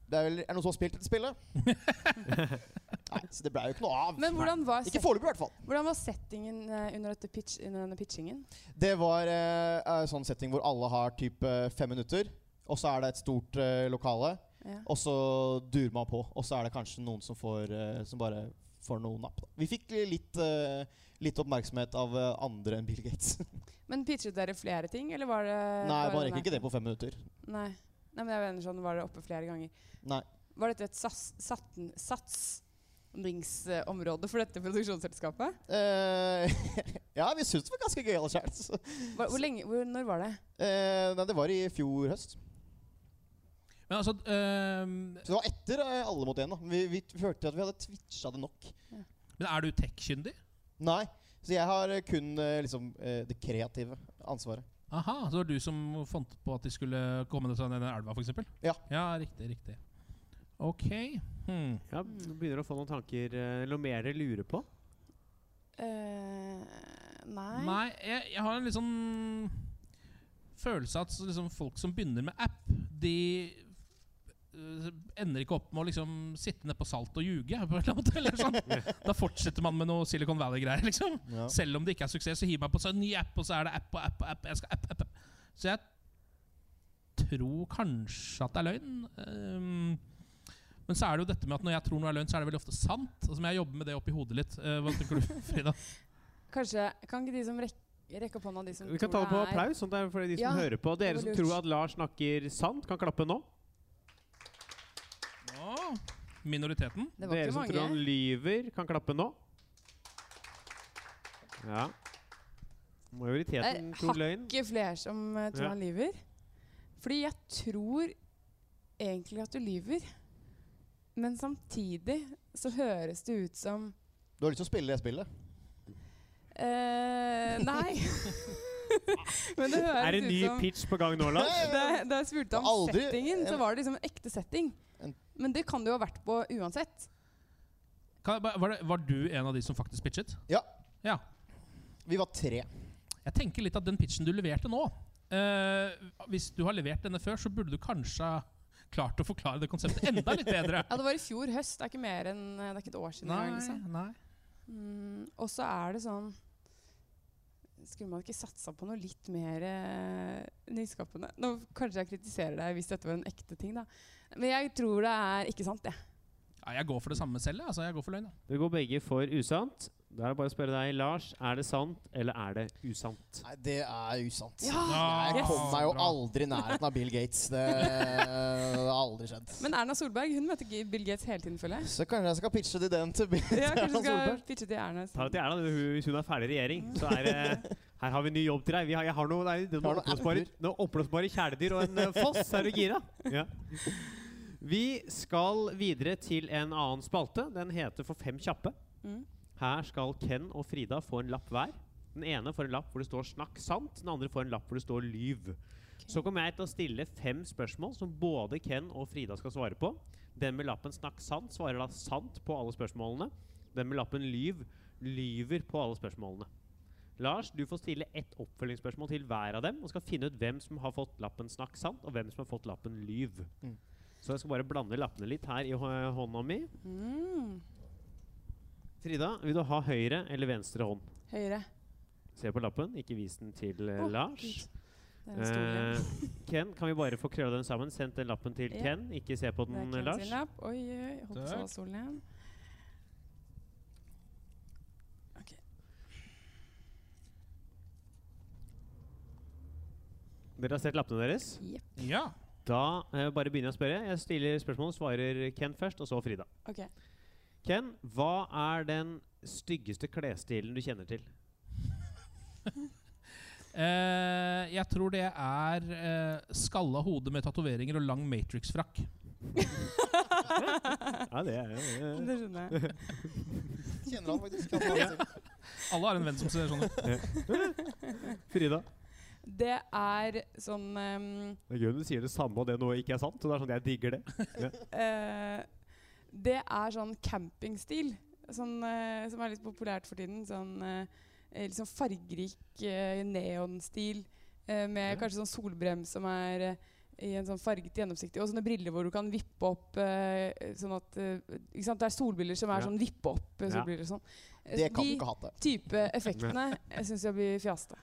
Speaker 4: Det er vel er det noen som har spilt dette spillet? Nei, så det ble jo ikke noe av.
Speaker 5: Men hvordan var,
Speaker 4: Ikke
Speaker 5: set
Speaker 4: foreløpig, i hvert fall.
Speaker 5: hvordan var settingen eh, under, dette pitch under denne pitchingen?
Speaker 4: Det var eh, en sånn setting hvor alle har typ eh, fem minutter. Og så er det et stort eh, lokale.
Speaker 5: Ja.
Speaker 4: Og så durer man på, og så er det kanskje noen som, får, eh, som bare får noe napp. Da. Vi fikk litt, eh, litt oppmerksomhet av eh, andre enn Bill Gates.
Speaker 5: Men pitchet dere flere ting, eller var det
Speaker 4: Nei, man rekker ikke det på fem minutter.
Speaker 5: Nei. Nei, men jeg mener sånn, var det oppe flere ganger?
Speaker 4: Nei.
Speaker 5: Var dette et sats, satten, satsingsområde for dette produksjonsselskapet?
Speaker 4: Eh, ja, vi syntes det var ganske gøyalt sjøl.
Speaker 5: Hva, hvor lenge, hvor, når var det?
Speaker 4: eh, nei, det var i fjor høst.
Speaker 3: Men altså øhm,
Speaker 4: Så det var etter eh, alle mot én. da. Vi, vi følte at vi hadde twitcha det nok.
Speaker 3: Men er du tech-kyndig?
Speaker 4: Nei, så jeg har eh, kun eh, liksom, eh, det kreative ansvaret.
Speaker 3: Aha, så det var du som fant på at de skulle komme seg ned den elva, f.eks.?
Speaker 4: Ja.
Speaker 3: ja. Riktig, riktig. Ok. Hmm.
Speaker 2: Ja,
Speaker 5: Mm.
Speaker 2: du begynner å få noen tanker eh, eller noe mer dere lurer på.
Speaker 5: Eh, nei.
Speaker 3: Nei, jeg, jeg har en litt sånn følelse av at så liksom folk som begynner med app, de øh, ender ikke opp med å liksom sitte nede på salt og ljuge. På en eller annen måte, eller sånn. Da fortsetter man med noe Silicon Valley-greier. liksom.
Speaker 4: Ja.
Speaker 3: Selv om det ikke er suksess, så hiver man på seg en ny app, og så er det app og app. og app, jeg skal app, app, app. Så jeg tror kanskje at det er løgn. Ehm, men så er det jo dette med at når jeg tror noe er løgn, så er det veldig ofte sant. Altså, men jeg jobber med det oppi hodet litt. Eh, hva tenker du, Frida?
Speaker 5: Kanskje, kan ikke de som rekker rekke opp hånda, de som
Speaker 2: Vi kan ta
Speaker 5: tror
Speaker 2: det på
Speaker 5: er-
Speaker 2: applaus, sånn at det er for de som
Speaker 5: Ja,
Speaker 2: hører på. Dere
Speaker 5: det
Speaker 2: som
Speaker 5: var
Speaker 2: tror
Speaker 5: lurt.
Speaker 2: at Lars snakker sant, kan klappe nå.
Speaker 3: Å, minoriteten.
Speaker 5: Det var
Speaker 2: Dere som
Speaker 5: ikke
Speaker 2: tror han
Speaker 5: mange.
Speaker 2: lyver, kan klappe nå. Ja. Majoriteten
Speaker 5: Det er
Speaker 2: tror løgn.
Speaker 5: Ikke flere som eh, tror
Speaker 2: Ja.
Speaker 5: han lyver. Fordi jeg tror egentlig at du lyver, men samtidig så høres det ut som
Speaker 4: Du har lyst til å spille det spillet?
Speaker 5: eh, Nei. men det høres
Speaker 2: Er det en ny
Speaker 5: ut som
Speaker 2: pitch på gang nå, Lars?
Speaker 5: da, da jeg spurte om
Speaker 4: Aldri
Speaker 5: settingen, så
Speaker 4: en-
Speaker 5: var det liksom en ekte setting.
Speaker 4: En-
Speaker 5: Men det kan det jo ha vært på uansett.
Speaker 3: Kan jeg bare- Var, det, var du en av de som faktisk pitchet?
Speaker 4: Ja.
Speaker 3: Ja.
Speaker 4: Vi var tre.
Speaker 3: Jeg tenker litt at den pitchen du leverte nå eh, Hvis du har levert denne før, så burde du kanskje ha klart å forklare det konseptet enda litt bedre.
Speaker 5: Ja, det var i fjor høst. Det er ikke mer enn eh, Det er ikke et år siden. engang, liksom.
Speaker 3: nei.
Speaker 5: Mm, og så er det sånn Skulle man ikke satsa på noe litt mer eh, nyskapende? Nå Kanskje jeg kritiserer deg hvis dette var en ekte ting, da. Men jeg tror det er ikke sant, jeg.
Speaker 3: Ja, jeg går for det samme selv. jeg. Altså, jeg går for løgn. da.
Speaker 2: Dere går begge for usant. Da er det bare å spørre deg, Lars. Er det sant, eller er det usant?
Speaker 4: Nei, det er usant.
Speaker 3: Ja,
Speaker 4: Ah, Jeg
Speaker 3: yes.
Speaker 4: kom meg jo
Speaker 3: Bra.
Speaker 4: aldri i nærheten av Bill Gates. Det, det har aldri skjedd.
Speaker 5: Men Erna Solberg hun møter G- Bill Gates hele tiden, føler jeg.
Speaker 4: Så kanskje jeg skal pitche til den til Bill
Speaker 5: Ja, kanskje
Speaker 4: Erna
Speaker 5: du skal
Speaker 4: Solberg.
Speaker 5: pitche til Erna.
Speaker 2: Ta det
Speaker 5: sånn.
Speaker 2: til Erna hun- hvis hun er ferdig i regjering. Så er det Her har vi ny jobb til deg. Vi har, jeg har noe, nei, det er
Speaker 4: Har
Speaker 2: noen
Speaker 4: noen
Speaker 2: oppblåsbare,
Speaker 4: apper.
Speaker 2: noen oppblåsbare kjæledyr og en eh, foss. Er du gira? Ja. Vi skal videre til en annen spalte. Den heter For fem kjappe.
Speaker 5: Mm.
Speaker 2: Her skal Ken og Frida få en lapp hver. Den ene får en lapp hvor det står 'snakk sant', den andre får en lapp hvor det står 'lyv'. Så kommer jeg til å stille fem spørsmål som både Ken og Frida skal svare på. Den med lappen 'snakk sant' svarer da sant på alle spørsmålene. Den med lappen 'lyv' lyver på alle spørsmålene. Lars, du får stille ett oppfølgingsspørsmål til hver av dem og skal finne ut hvem som har fått lappen 'snakk sant', og hvem som har fått lappen 'lyv'.
Speaker 4: Mm.
Speaker 2: Så jeg skal bare blande lappene litt her i hå- hånda mi.
Speaker 5: Mm.
Speaker 2: Frida, vil du ha høyre eller venstre hånd?
Speaker 5: Høyre.
Speaker 2: Se på lappen, ikke vis den til eh,
Speaker 5: Å,
Speaker 2: Lars.
Speaker 5: Gud. Det er en stor greie.
Speaker 2: Eh, Ken, kan vi bare få krølla den sammen? Sendt den lappen til
Speaker 5: Ja.
Speaker 2: Ken, ikke se på
Speaker 5: Det er
Speaker 2: den, eh,
Speaker 5: Ken
Speaker 2: Lars.
Speaker 5: sin lapp. Oi, oi, jeg holdt på å
Speaker 3: Takk.
Speaker 5: slå stolen igjen.
Speaker 2: Dere har sett lappene deres?
Speaker 5: Jepp.
Speaker 3: Ja.
Speaker 2: Da eh, bare begynner jeg å spørre. Jeg stiller spørsmål, svarer Ken først, og så Frida.
Speaker 5: Ok.
Speaker 2: Ken, hva er den styggeste klesstilen du kjenner til?
Speaker 3: Eh, jeg tror det er eh, skalla hode med tatoveringer og lang Matrix-frakk.
Speaker 2: Ja, det er eh,
Speaker 5: Det skjønner jeg.
Speaker 4: Kjenner han faktisk. Kan han si.
Speaker 3: Alle har en venn som ser sånn ut.
Speaker 2: Frida.
Speaker 5: Det er sånn ehm,
Speaker 2: Det er gøy om du sier det samme og det nå ikke er sant. Så det er sånn, Jeg digger det.
Speaker 5: Eh, det er sånn campingstil, sånn, eh, som er litt populært for tiden. Sånn eh, eh, litt sånn fargerik eh, neonstil eh, med
Speaker 2: Ja.
Speaker 5: kanskje sånn solbrems som er eh, i en sånn farget gjennomsiktig, og sånne briller hvor du kan vippe opp eh, sånn at eh, ikke sant? Det er solbriller som er
Speaker 2: Ja.
Speaker 5: sånn vippe opp eh,
Speaker 2: Ja.
Speaker 5: solbriller og sånn. Eh,
Speaker 4: Det
Speaker 5: så
Speaker 4: kan du
Speaker 5: de
Speaker 4: ikke hatt det.
Speaker 5: type effektene eh, syns jeg blir fjaste.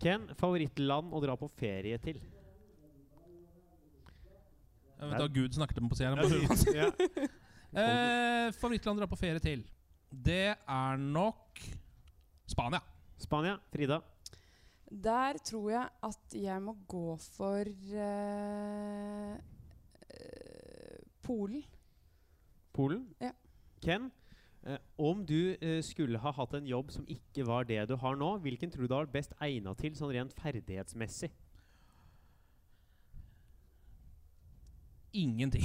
Speaker 2: Ken, favorittland å dra på ferie til?
Speaker 3: Jeg vet da Gud snakket med meg på siden her, men-
Speaker 2: Ja.
Speaker 3: Eh, favorittland å dra på ferie til? Det er nok Spania.
Speaker 2: Spania. Frida.
Speaker 5: Der tror jeg at jeg må gå for eh, eh, Polen.
Speaker 2: Polen.
Speaker 5: Ja.
Speaker 2: Ken, eh, om du eh, skulle ha hatt en jobb som ikke var det du har nå, hvilken tror du du har vært best egna til sånn rent ferdighetsmessig?
Speaker 3: Ingenting.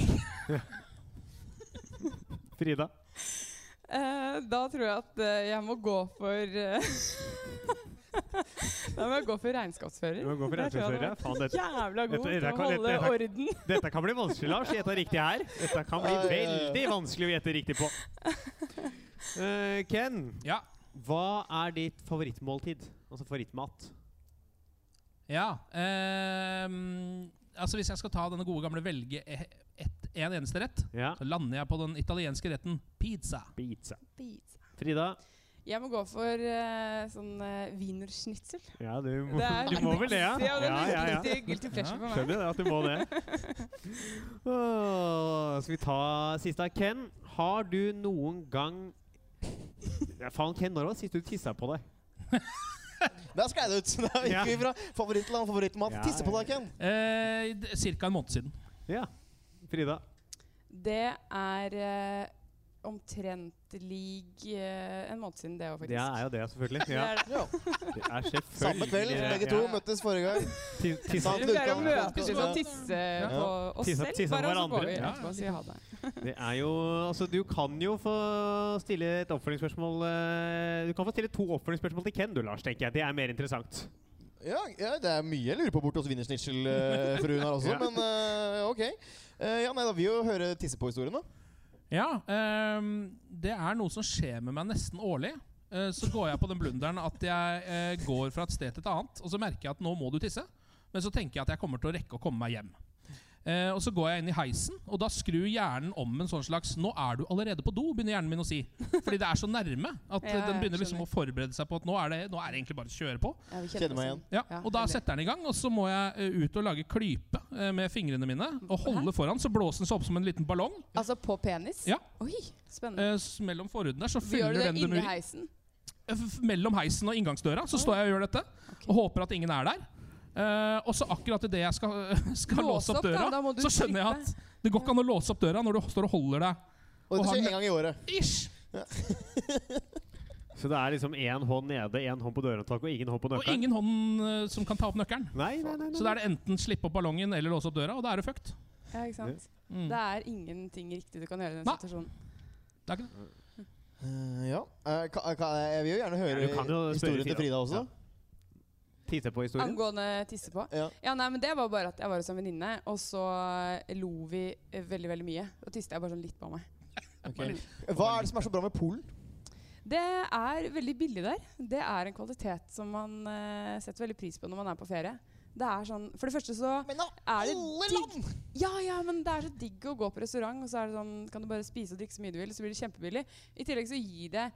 Speaker 2: Frida.
Speaker 5: Eh, da tror jeg at eh, jeg må gå for eh, Da må jeg gå for regnskapsfører.
Speaker 2: Du må gå for
Speaker 5: Der tror
Speaker 2: regnskapsfører,
Speaker 5: jeg han
Speaker 2: ja. Faen, dette-
Speaker 5: er Jævla god
Speaker 2: dette-
Speaker 5: til
Speaker 2: dette
Speaker 5: å
Speaker 2: kan-
Speaker 5: holde
Speaker 2: dette-
Speaker 5: orden.
Speaker 2: Dette kan bli vanskelig, Lars. Gjett riktig her. Dette kan bli
Speaker 4: Ai, ai, ai.
Speaker 2: veldig vanskelig å gjette riktig på. Eh, Ken,
Speaker 3: Ja.
Speaker 2: hva er ditt favorittmåltid? Altså favorittmat.
Speaker 3: Ja. ehm, altså Hvis jeg skal ta denne gode gamle velge e- ett- en eneste rett,
Speaker 2: Ja.
Speaker 3: så lander jeg på den italienske retten pizza.
Speaker 2: Pizza. Frida?
Speaker 5: Jeg må gå for eh, sånn uh, wienerschnitzel.
Speaker 2: Ja, du må,
Speaker 5: Det er-
Speaker 2: du må vel det, ja?
Speaker 5: Ja, det
Speaker 2: Ja,
Speaker 5: er
Speaker 2: ja, ja.
Speaker 5: guilty- guilty pleasure for meg.
Speaker 2: Skjønner jo det, at du må det. Åh, skal vi ta siste? Ken, har du noen gang ja, Faen, Ken, når var det sist du tissa på deg?
Speaker 4: Der sklei det ut. Da gikk
Speaker 2: Ja.
Speaker 4: vi fra favorittland, favorittmat,
Speaker 2: Ja,
Speaker 4: tisse på
Speaker 2: ja,
Speaker 4: deg, Ken.
Speaker 3: Eh, Ca. en måned siden.
Speaker 2: Ja. Frida?
Speaker 5: Det er eh, omtrent lig eh, en måned siden, det òg, faktisk.
Speaker 2: Det er jo det, selvfølgelig.
Speaker 5: Det
Speaker 2: Ja,
Speaker 5: er det.
Speaker 4: Ja.
Speaker 2: det er selvfølgelig
Speaker 4: Samme kveld,
Speaker 2: det.
Speaker 4: begge to møttes forrige gang.
Speaker 2: Ti- tissa-
Speaker 5: Vi pleier å
Speaker 4: Utgang-
Speaker 5: møtes
Speaker 4: utgang-
Speaker 5: og tisse på oss
Speaker 2: Tisse-
Speaker 5: selv,
Speaker 2: tisse på
Speaker 5: bare, og så går
Speaker 2: hverandre.
Speaker 5: vi
Speaker 3: Ja.
Speaker 5: etterpå og sier ha det.
Speaker 2: Det er jo Altså, du kan jo få stille et oppfølgingsspørsmål eh, Du kan få stille to oppfølgingsspørsmål til Ken, du, Lars, tenker jeg. Det er mer interessant.
Speaker 4: Ja, ja, det er mye jeg lurer på borte hos Wienersnitzel-fruen her også,
Speaker 2: Ja.
Speaker 4: men eh, OK. Eh, ja, nei, da vil jo høre tisse på-historien, da.
Speaker 3: Ja, ehm, det er noe som skjer med meg nesten årlig. Eh, så går jeg på den blunderen at jeg eh, går fra et sted til et annet, og så merker jeg at nå må du tisse. Men så tenker jeg at jeg kommer til å rekke å komme meg hjem. Eh, og så går jeg inn i heisen, og da skrur hjernen om en sånn slags Nå er du allerede på do, begynner hjernen min å si. Fordi det er så nærme at eh,
Speaker 5: Ja,
Speaker 3: den
Speaker 5: jeg
Speaker 3: begynner liksom å
Speaker 5: skjønner.
Speaker 3: forberede seg på at nå er det, nå er det egentlig bare å kjøre på.
Speaker 5: Ja, vi
Speaker 4: Kjenner meg igjen.
Speaker 3: Ja,
Speaker 5: Ja,
Speaker 3: og da
Speaker 5: veldig.
Speaker 3: setter den i gang, og så må jeg eh, ut og lage klype eh, med fingrene mine. Og holde foran, så blåser den seg opp som en liten ballong.
Speaker 5: Altså på penis?
Speaker 3: Ja.
Speaker 5: Oi, spennende.
Speaker 3: Eh, s- mellom forhuden der så
Speaker 5: Gjør
Speaker 3: fyller
Speaker 5: du det
Speaker 3: den det
Speaker 5: inni
Speaker 3: med
Speaker 5: heisen?
Speaker 3: f- Mellom heisen og inngangsdøra så står jeg og gjør dette. Og håper at ingen er der. Eh, og så akkurat idet jeg skal, skal
Speaker 5: Lås
Speaker 3: låse opp
Speaker 5: opp, da,
Speaker 3: døra,
Speaker 5: da må du
Speaker 3: så skjønner jeg at det går ikke an å låse opp døra når du står og holder deg Og
Speaker 4: Og det
Speaker 3: han-
Speaker 4: skjer en gang i året.
Speaker 3: Ish!
Speaker 2: Så det er liksom én hånd nede, én hånd på dørhåndtaket og ingen hånd på
Speaker 3: Og
Speaker 2: nøkkelen?
Speaker 3: ingen hånd eh, som kan ta opp nøkkelen.
Speaker 2: Nei, nei, nei,
Speaker 3: Så da er det enten slippe opp ballongen eller låse opp døra, og da er du fucked.
Speaker 5: Ja, ikke sant?
Speaker 3: Mm.
Speaker 5: Det er ingenting riktig du kan gjøre i den
Speaker 3: Nei.
Speaker 5: situasjonen.
Speaker 3: Det er ikke det.
Speaker 4: Eh, ja. Eh, ka, ka, jeg vil jo gjerne
Speaker 2: Ja,
Speaker 4: høre
Speaker 2: du kan jo spørre
Speaker 4: historien til
Speaker 2: Frida.
Speaker 4: Frida også.
Speaker 2: Tisse på historien?
Speaker 5: Angående tisse på.
Speaker 4: Ja.
Speaker 5: Ja, nei, men Det var bare at jeg var hos en venninne, og så eh, lo vi eh, veldig veldig mye. Og tiste jeg bare sånn litt på meg.
Speaker 4: Ok. Hva er det som er så bra med Polen?
Speaker 5: Det er veldig billig der. Det er en kvalitet som man eh, setter veldig pris på når man er på ferie. Det er sånn, For det første så
Speaker 4: Men av
Speaker 5: er det
Speaker 4: alle
Speaker 5: digg
Speaker 4: land!
Speaker 5: Ja, ja, men det er så digg å gå på restaurant, og så er det sånn, kan du bare spise og drikke så mye du vil, så blir det kjempebillig. I tillegg så gir det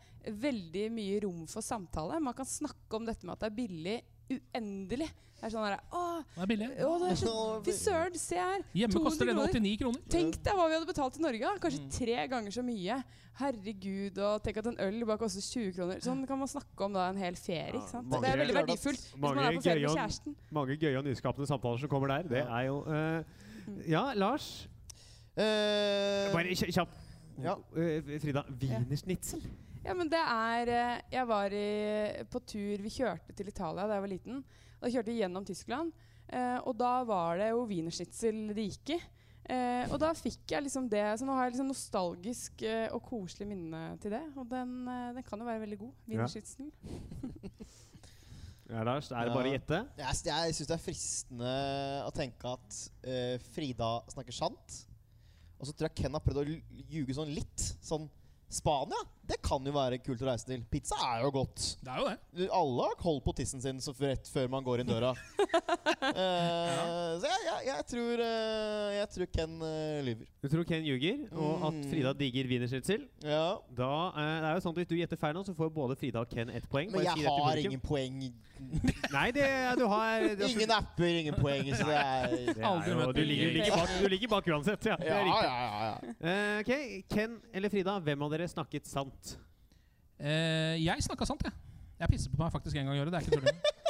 Speaker 5: veldig mye rom for samtale. Man kan snakke om dette med at det er billig uendelig. Det er sånn her, å,
Speaker 3: Det er billig.
Speaker 5: å, det er så, fy søren, se her.
Speaker 3: Hjemme
Speaker 5: 200
Speaker 3: koster det
Speaker 5: kroner.
Speaker 3: 89 kroner.
Speaker 5: Tenk deg hva vi hadde betalt i Norge, da.
Speaker 2: Mm.
Speaker 5: kanskje tre ganger så mye. Herregud, og tenk at en øl bare koster 20 kroner. Sånn kan man snakke om da en hel ferie, ikke sant.
Speaker 2: Ja,
Speaker 5: Det er
Speaker 2: mange-
Speaker 5: veldig verdifullt hvis man er
Speaker 2: mange
Speaker 5: på ferie
Speaker 2: gøy-
Speaker 5: med kjæresten.
Speaker 2: Mange gøye og nyskapende samtaler som kommer der. Det
Speaker 4: Ja.
Speaker 2: er jo eh, Ja, Lars.
Speaker 4: Eh,
Speaker 2: Bare kj- kjapt.
Speaker 4: Ja.
Speaker 2: Eh, Frida, wienersnitzel?
Speaker 5: Ja, men det er eh, Jeg var i, på tur Vi kjørte til Italia da jeg var liten. Da kjørte vi gjennom Tyskland, eh, og da var det jo wienerschnitzel det gikk i. Eh, og da fikk jeg liksom det Så nå har jeg liksom nostalgisk eh, og koselig minne til det. Og den, eh, den kan jo være veldig god. Wienerschnitzel.
Speaker 2: Ja, Lars, er det bare å
Speaker 4: Ja.
Speaker 2: gjette?
Speaker 4: Jeg, jeg syns det er fristende å tenke at eh, Frida snakker sant. Og så tror jeg Ken har prøvd å l- ljuge sånn litt. Sånn Spania, det kan jo være kult å reise til. Pizza er jo godt.
Speaker 3: Det er jo det.
Speaker 4: Du, Alle har holdt på tissen sin så f- rett før man går inn døra. Eh, Så jeg, jeg, jeg, tror, eh, jeg tror Ken eh, lyver.
Speaker 2: Du tror Ken ljuger, og at
Speaker 4: Mm.
Speaker 2: Frida digger wienersnitzel?
Speaker 4: Ja.
Speaker 2: Da eh, det er jo sånn at Hvis du gjetter feil nå, så får både Frida og Ken ett poeng.
Speaker 4: Men
Speaker 2: Bare si det
Speaker 4: jeg
Speaker 2: til
Speaker 4: har
Speaker 2: publikum.
Speaker 4: ingen poeng.
Speaker 2: Nei, det, er- du har altså,
Speaker 4: Ingen apper, ingen poeng. Så det er
Speaker 2: det er
Speaker 3: Aldri
Speaker 2: jo,
Speaker 3: møtt
Speaker 2: du, ligger, du,
Speaker 3: noen.
Speaker 2: ligger bak, du ligger bak uansett. Ja, det
Speaker 4: Ja,
Speaker 2: er
Speaker 4: ja,
Speaker 2: riktig.
Speaker 4: ja. ja.
Speaker 2: Eh, ok, Ken eller Frida, hvem av dere snakket sant?
Speaker 3: Eh, jeg snakka sant, jeg. Jeg pisser på meg faktisk en gang i året. Det er ikke tull. engang.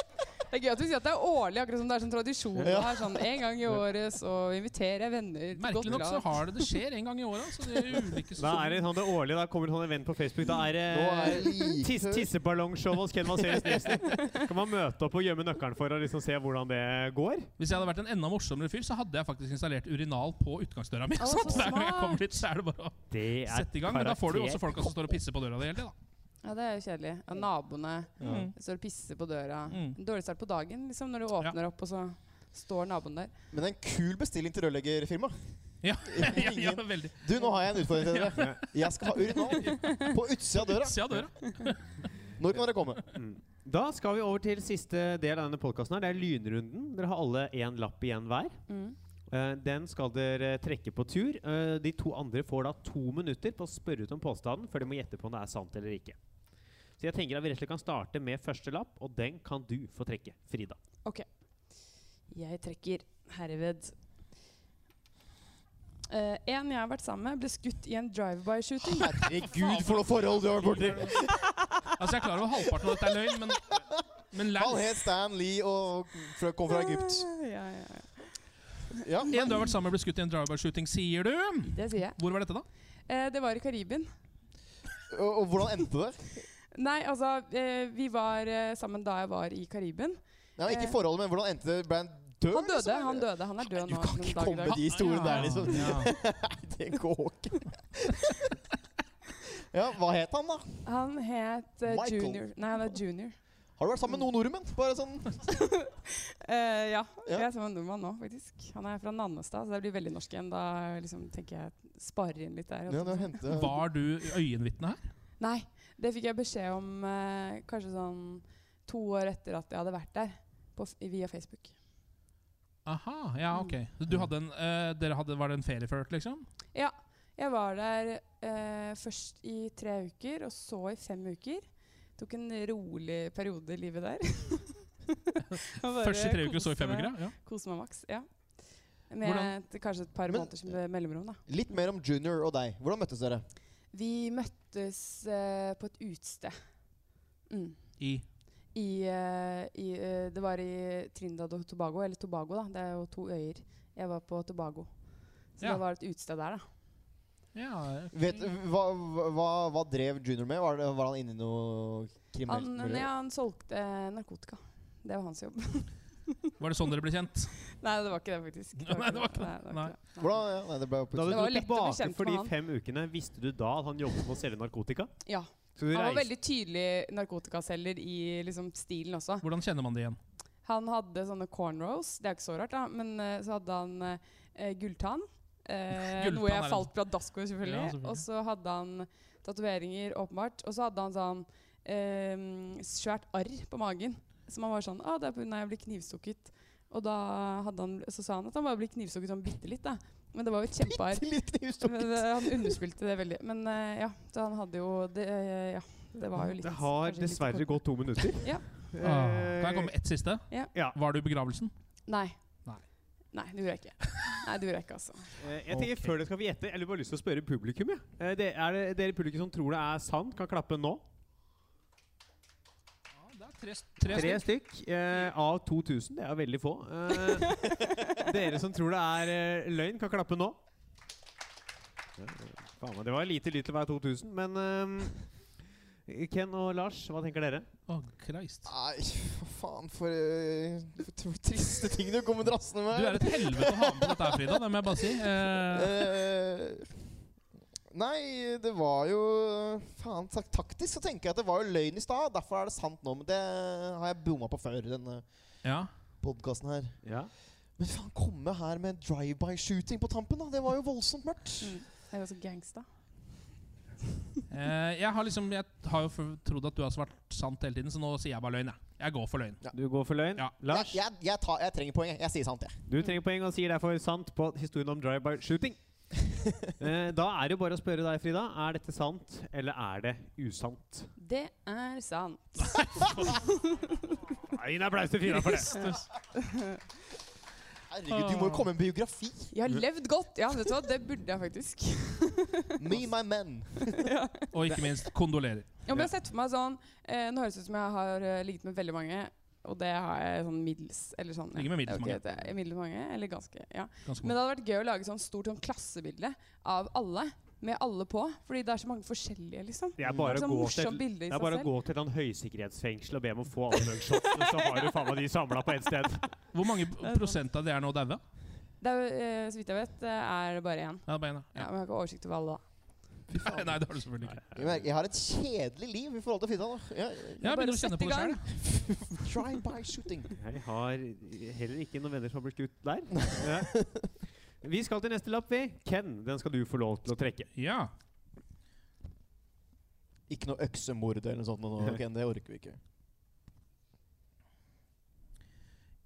Speaker 5: Det er gøy at du sier at det er årlig, akkurat som det er sånn tradisjon.
Speaker 4: Ja.
Speaker 5: Det er sånn En gang i året så inviterer jeg venner. til
Speaker 3: Merkelig
Speaker 5: godt
Speaker 3: nok så
Speaker 5: lag.
Speaker 3: har det det skjer en gang i året. Så det er ulike
Speaker 2: Da er det sånn det årlige, da kommer det sånn event på Facebook. Da er det
Speaker 4: Nå er det like
Speaker 2: Tiss, Tisseballonshow hos Ken Vasenius Nilsen. Kan man møte opp og gjemme nøkkelen for å liksom se hvordan det går?
Speaker 3: Hvis jeg hadde vært en enda morsommere fyr, så hadde jeg faktisk installert urinal på utgangsdøra mi. Sånn,
Speaker 5: Å,
Speaker 3: så
Speaker 5: så
Speaker 3: hver gang jeg
Speaker 5: smart.
Speaker 3: kommer dit, så er det bare å
Speaker 2: Det er
Speaker 3: sette i gang. Men da får du jo
Speaker 2: karakter.
Speaker 3: også folka som står og pisser på døra di hele tida.
Speaker 5: Ja, det er jo kjedelig. Ja, naboene
Speaker 3: Mm.
Speaker 5: står og pisser på døra.
Speaker 3: Mm.
Speaker 5: En dårlig start på dagen liksom, når du åpner opp, og så står naboen der.
Speaker 4: Men en kul bestilling til rørleggerfirma.
Speaker 3: Ja, ja, ja,
Speaker 4: Ingen-
Speaker 3: veldig.
Speaker 4: Du, nå har jeg en utfordring til dere. Jeg skal ha urinal på utsida av døra.
Speaker 3: Se av døra.
Speaker 4: Når kan dere komme?
Speaker 2: Da skal vi over til siste del av denne podkasten. Det er lynrunden. Dere har alle én lapp igjen hver.
Speaker 5: Mm.
Speaker 2: Eh, den skal dere trekke på tur. Eh, de to andre får da to minutter på å spørre ut om påstanden før de må gjette på om det er sant eller ikke. Så jeg tenker at vi rett og slett kan starte med første lapp, og den kan du få trekke, Frida.
Speaker 5: Jeg trekker herved. Eh, en jeg har vært sammen med, ble skutt i en drive-by-shooting.
Speaker 4: Ah, Herregud, for noe forhold du har vært borti!
Speaker 3: Altså, jeg er klar over halvparten av dette er løgn, men, men
Speaker 4: Han
Speaker 3: likevel.
Speaker 4: het Stan Lee og fra- kom fra Egypt.
Speaker 5: Ja, ja, ja.
Speaker 4: Ja.
Speaker 3: En du har vært sammen med, ble skutt i en drive-by-shooting, sier du.
Speaker 5: Det sier jeg.
Speaker 3: Hvor var dette, da?
Speaker 5: Eh, det var i Karibien.
Speaker 4: Og, og hvordan endte det?
Speaker 5: Nei, altså, eh, vi var eh, sammen da jeg var i Karibien.
Speaker 4: Nei, ikke forholdet, men hvordan endte det? Ble han død?
Speaker 5: Han døde,
Speaker 4: liksom?
Speaker 5: han døde. Han er død
Speaker 4: Du
Speaker 5: nå.
Speaker 4: kan
Speaker 5: men
Speaker 4: ikke
Speaker 5: dag i
Speaker 4: komme
Speaker 5: dag.
Speaker 4: med de historiene der, liksom.
Speaker 3: Ja.
Speaker 4: Det går ikke. Ja, hva het han, da?
Speaker 5: Han het eh,
Speaker 4: Michael.
Speaker 5: Junior. Nei, han er junior.
Speaker 4: Har du vært sammen med noen nordmenn? Bare sånn
Speaker 5: Eh, ja.
Speaker 4: Ja.
Speaker 5: Jeg er sammen med en nordmann nå, faktisk. Han er fra Nannestad, så det blir veldig norsk igjen. Da liksom, tenker jeg sparer inn litt der. altså.
Speaker 4: ja, det hendte.
Speaker 3: Var du øyenvitne her?
Speaker 5: Nei, det fikk jeg beskjed om eh, kanskje sånn to år etter at jeg hadde vært der, på, f- via Facebook.
Speaker 3: Aha, ja, ok. Så Du hadde en, eh, dere hadde, var det en ferieført, liksom?
Speaker 5: Jeg var der eh, først i tre uker, og så i fem uker. Tok en rolig periode i livet der. Og bare
Speaker 3: Først i tre uker, så i fem
Speaker 5: kose
Speaker 3: uker?
Speaker 5: meg-
Speaker 3: Ja.
Speaker 5: Kose meg maks, ja. Med
Speaker 3: Hvordan-
Speaker 5: et, kanskje et par
Speaker 4: Men-
Speaker 5: måneders me- mellomrom, da.
Speaker 4: Litt mer om Junior og deg. Hvordan møttes dere?
Speaker 5: Vi møttes eh, på et utested. Mm.
Speaker 3: I
Speaker 5: i, eh, i eh, Det var i Trindad og Tobago, eller Tobago, da. Det er jo to øyer. Jeg var på Tobago. Så
Speaker 3: Ja.
Speaker 5: det var et utested der, da.
Speaker 3: ja.
Speaker 4: Vet, hva, hva, hva drev Junior med? Var, det, var han inne i noe kriminelt?
Speaker 5: Han,
Speaker 4: miljø?
Speaker 5: ja, han solgte eh, narkotika. Det var hans jobb.
Speaker 3: Var det sånn dere ble kjent?
Speaker 5: Nei, det var ikke det, faktisk.
Speaker 3: Nei, det var ikke det.
Speaker 5: Nei, det. Nei.
Speaker 4: Hvordan, ja, nei, det ble
Speaker 2: Da du
Speaker 4: jo
Speaker 5: Det
Speaker 4: plutselig.
Speaker 5: var
Speaker 2: dro
Speaker 5: jo lett å bli
Speaker 2: tilbake
Speaker 5: kjent
Speaker 2: for de
Speaker 5: med han.
Speaker 2: fem ukene, visste du da at han jobbet med å selge narkotika?
Speaker 5: Ja.
Speaker 2: Så du
Speaker 5: Han var
Speaker 2: reiste
Speaker 5: veldig tydelig narkotikaselger i liksom, stilen også.
Speaker 3: Hvordan kjenner man det igjen?
Speaker 5: Han hadde sånne cornrows, det er ikke så rart, da, men eh, så hadde han eh, gulltann. Eh,
Speaker 3: Gulltann er
Speaker 5: noe jeg
Speaker 3: en-
Speaker 5: falt pladask over, selvfølgelig.
Speaker 3: Ja, selvfølgelig.
Speaker 5: Og så hadde han tatoveringer, åpenbart. Og så hadde han sånn eh, svært arr på magen. Som han var sånn ah, 'Det er pga. jeg ble knivstukket'. Og da hadde han, så sa han at han bare ble knivstukket sånn bitte litt, da. Men det var jo et kjempearr.
Speaker 4: Litt knivstukket.
Speaker 5: Men, eh, Han underspilte det veldig. Men eh, ja, så han hadde jo det, eh, Ja, det var jo litt
Speaker 2: Det har
Speaker 5: kanskje litt
Speaker 2: dessverre
Speaker 5: kort.
Speaker 2: gått to minutter.
Speaker 5: Ja.
Speaker 2: Eh,
Speaker 3: Ah, kan jeg komme med ett siste?
Speaker 2: Ja.
Speaker 3: Var du i begravelsen?
Speaker 5: Nei.
Speaker 3: Nei.
Speaker 5: Nei, det gjorde jeg ikke. Nei, det gjorde jeg ikke, altså.
Speaker 2: Eh, Jeg tenker
Speaker 3: Ok.
Speaker 2: Før dere skal få gjette, jeg har bare lyst til å spørre publikum. Ja. Eh, Det, er det dere i publikum som tror det er sant, kan klappe nå.
Speaker 3: Ja, det er tre, tre,
Speaker 2: Tre
Speaker 3: stykker.
Speaker 2: stykk eh, av 2000. Det er veldig få. Eh, dere som tror det er eh, løgn, kan klappe nå. Eh, Faen meg, Det var lite lyd til hver 2000, men eh, Ken og Lars, hva tenker dere?
Speaker 3: Å, Christ.
Speaker 4: Nei, hva faen for, eh, for t- for triste ting du kommer drassende
Speaker 3: Du
Speaker 4: med.
Speaker 3: er et helvete å ha med på dette her, Frida. Det må jeg bare si. Eh,
Speaker 4: Eh, Nei, det var jo Faen, tak taktisk så tenker jeg at det var jo løgn i stad. Derfor er det sant nå. Men det har jeg bomma på før, denne
Speaker 3: ja.
Speaker 4: podkasten her.
Speaker 2: Ja.
Speaker 4: Men faen, komme her med drive-by-shooting på tampen, da. Det var jo voldsomt mørkt.
Speaker 5: Mm. Jeg er ganske gangsta.
Speaker 3: Eh, jeg har liksom Jeg har jo f- trodd at du har svart sant hele tiden, så nå sier jeg bare løgn. Jeg, jeg går for løgn.
Speaker 2: Du går for løgn.
Speaker 3: Ja.
Speaker 2: Lars,
Speaker 4: Jeg, jeg, jeg, tar, jeg trenger poeng. jeg. Jeg sier sant, jeg.
Speaker 2: du trenger poeng og sier derfor sant på historien om drive-by-shooting. Eh, da er det jo bare å spørre deg, Frida. Er dette sant, eller er det usant?
Speaker 5: Det er sant.
Speaker 2: Nei, en applaus til Frida for det.
Speaker 4: Herregud, du må jo komme med en biografi.
Speaker 5: Jeg har levd godt! Ja, vet du hva, det burde jeg faktisk.
Speaker 4: Me, my men.
Speaker 3: Og ikke minst kondolerer.
Speaker 5: Ja, men jeg har sett for meg sånn eh, Nå høres det ut som jeg har eh, ligget med veldig mange, og det har jeg sånn middels. Eller sånn.
Speaker 3: Ligger med middels
Speaker 5: Jeg vet
Speaker 3: mange. Mm.
Speaker 5: ikke, det er Middels mange, eller ganske. Ja.
Speaker 3: Ganske
Speaker 5: Men
Speaker 3: god.
Speaker 5: det hadde vært gøy å lage sånn stort sånn klassebilde av alle, med alle på. Fordi det er så mange forskjellige, liksom.
Speaker 2: Det er
Speaker 5: Det
Speaker 2: bare
Speaker 5: er
Speaker 2: å
Speaker 5: sånn
Speaker 2: gå til
Speaker 5: morsomt bilde
Speaker 2: Det er
Speaker 5: i seg
Speaker 2: bare å
Speaker 5: selv.
Speaker 2: gå til et eller annet høysikkerhetsfengsel og be om å få alle mugshotsene, så har du faen meg de samla på ett sted.
Speaker 3: Hvor mange prosent av de er nå daue?
Speaker 5: Det er, jo, eh, så vidt jeg vet, eh, er det bare én.
Speaker 3: Ja, det er bare en,
Speaker 5: Ja,
Speaker 3: ja.
Speaker 5: men jeg har ikke oversikt over alle, da.
Speaker 3: Fy faen. Nei, det har du selvfølgelig ikke.
Speaker 4: Jeg, merker, jeg har et kjedelig liv i forhold til Fidan. da. Jeg, jeg,
Speaker 3: Jeg
Speaker 5: bare
Speaker 3: begynner å kjenne på det
Speaker 5: sett i
Speaker 3: sjøl.
Speaker 4: try by shooting.
Speaker 2: Jeg har heller ikke noen venner som har blitt skutt der. Ja. Vi skal til neste lapp, vi. Ken, den skal du få lov til å trekke.
Speaker 3: Ja.
Speaker 4: Ikke noe øksemord eller noe sånt. nå, ok, det orker vi ikke.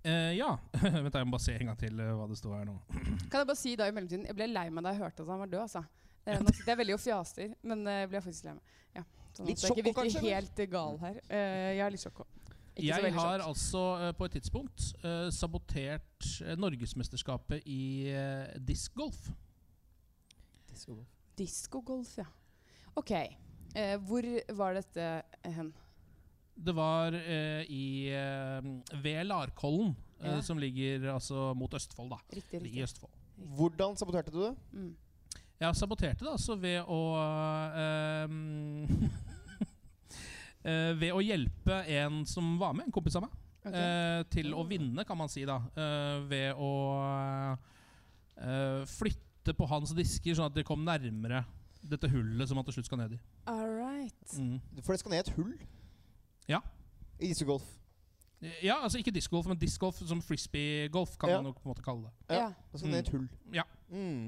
Speaker 3: Eh, ja. Vent, da, jeg må bare se en gang til eh, hva det står her nå.
Speaker 5: Kan jeg bare si da i mellomtiden Jeg ble lei meg da jeg hørte at han var død, altså. Eh, nå sitter jeg veldig og fjaser, men eh, jeg ble faktisk lei meg. Ja, sånn at
Speaker 4: Litt
Speaker 5: jeg ikke
Speaker 4: sjokko,
Speaker 5: virker
Speaker 4: kanskje, eller?
Speaker 5: helt eh, gal her. Eh, jeg er litt sjokko. Ikke så
Speaker 3: Jeg
Speaker 5: veldig
Speaker 3: har
Speaker 5: sjokk.
Speaker 3: altså eh, på et tidspunkt eh, sabotert eh, norgesmesterskapet i eh, diskgolf.
Speaker 5: Diskogolf, ja. Ok. Eh, hvor var dette eh, hen?
Speaker 3: Det var eh, i eh, ved Larkollen, eh,
Speaker 5: Ja.
Speaker 3: som ligger altså mot Østfold, da.
Speaker 5: Riktig,
Speaker 3: I
Speaker 5: riktig.
Speaker 3: Østfold.
Speaker 4: Hvordan saboterte du det?
Speaker 5: Mm.
Speaker 3: Jeg saboterte det altså ved å ehm, eh, Ved å hjelpe en som var med, en kompis av meg,
Speaker 5: Ok.
Speaker 3: eh, til å vinne, kan man si, da. eh, ved å eh, flytte på hans disker, sånn at de kom nærmere dette hullet som han til slutt skal ned i.
Speaker 5: All right.
Speaker 3: Mm.
Speaker 4: For det skal ned i et hull
Speaker 3: Ja.
Speaker 4: i isegolf.
Speaker 3: ja, altså ikke discgolf, men discgolf som frisbee-golf kan
Speaker 4: Ja.
Speaker 3: man nok på en måte kalle det.
Speaker 5: Ja.
Speaker 4: Ja. Det skal ned i et hull.
Speaker 3: Ja.
Speaker 4: Mm.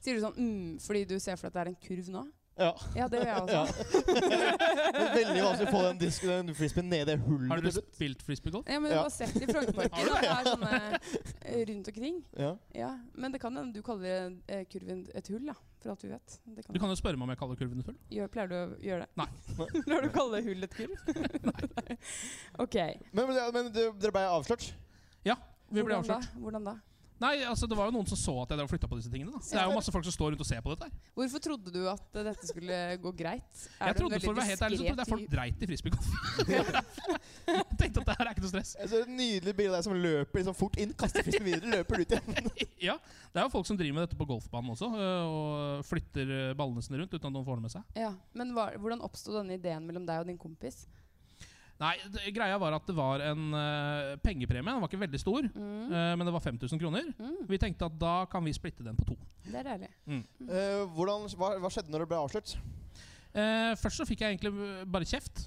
Speaker 5: Sier du sånn mm, fordi du ser for deg at det er en kurv nå?
Speaker 4: ja.
Speaker 5: Ja, det gjør jeg
Speaker 4: Ja.
Speaker 5: også.
Speaker 4: det er veldig vanskelig å få den, disk, den frisbeen ned i det hullet.
Speaker 3: Har dere
Speaker 4: til slutt.
Speaker 3: spilt frisbee-golf?
Speaker 5: Ja, men du
Speaker 4: Ja.
Speaker 5: har sett det i Frognerparken. da. Det er sånne eh, rundt omkring.
Speaker 4: Ja.
Speaker 5: Ja, Men det kan hende du kaller eh, kurven et hull, da, for alt vi vet. Det kan
Speaker 3: Du kan jo spørre meg om jeg kaller kurven et hull.
Speaker 5: Gjør, pleier du å gjøre det?
Speaker 3: Nei.
Speaker 5: Pleier du å kalle hull et kurv? Nei. ok.
Speaker 4: Men, men, det- men det- dere ble avslørt?
Speaker 3: Vi ble
Speaker 5: Hvordan da?
Speaker 3: avslørt.
Speaker 5: Hvordan da?
Speaker 3: Nei, altså det var jo noen som så at jeg flytta på disse tingene. da Så Det er jo masse folk som står rundt og ser på dette. her
Speaker 5: Hvorfor trodde du at eh, dette skulle gå greit?
Speaker 3: Jeg trodde for å være helt ærlig Så trodde jeg folk dreit i frisbeegolf. Jeg Tenkte at det her er ikke noe stress.
Speaker 4: Jeg ser et nydelig bilde av deg som løper liksom fort inn, kaster fisken videre, løper ut igjen.
Speaker 3: Ja, Det er jo folk som driver med dette på golfbanen også, øh, og flytter øh, ballene sine rundt uten at noen får det med seg.
Speaker 5: Ja, Men hva, hvordan oppsto denne ideen mellom deg og din kompis?
Speaker 3: Nei, det- Greia var at det var en øh, pengepremie. Den var ikke veldig stor,
Speaker 5: Mm.
Speaker 3: øh, men det var 5000 kroner.
Speaker 5: Mm.
Speaker 3: Vi tenkte at da kan vi splitte den på to.
Speaker 5: Det er deilig.
Speaker 4: Eh, hvordan, hva, hva skjedde når det ble avslørt?
Speaker 3: Eh, først så fikk jeg egentlig øh, bare kjeft.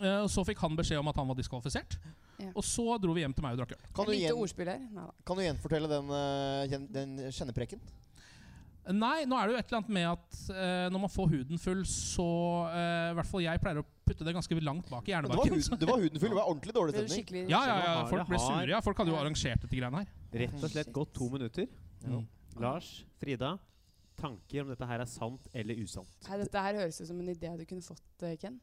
Speaker 3: Eh, og Så fikk han beskjed om at han var diskvalifisert.
Speaker 5: Ja.
Speaker 3: Og så dro vi hjem til meg og drakk øl.
Speaker 4: Kan du,
Speaker 5: Jeg likte
Speaker 4: gjen,
Speaker 5: ordspill her. Nei da.
Speaker 4: kan du gjenfortelle den, eh, gjen, den kjennepreken?
Speaker 3: Nei, nå er det jo et eller annet med at eh, når man får huden full, så eh, I hvert fall jeg pleier å putte det ganske langt bak i
Speaker 4: Det var,
Speaker 3: hjernebarken.
Speaker 4: huden, det var huden full, det var ordentlig dårlig
Speaker 5: Ble du
Speaker 4: stemning.
Speaker 5: skikkelig
Speaker 3: Ja, ja, ja,
Speaker 2: Så
Speaker 3: folk
Speaker 2: det
Speaker 3: ble
Speaker 2: har-
Speaker 3: sure. Ja, folk hadde jo arrangert dette greiene her.
Speaker 2: Rett og slett gått to minutter.
Speaker 3: Mm.
Speaker 2: Lars, Frida, tanker om dette her er sant eller usant?
Speaker 5: Nei, dette her høres ut som en idé du kunne fått, eh, Ken.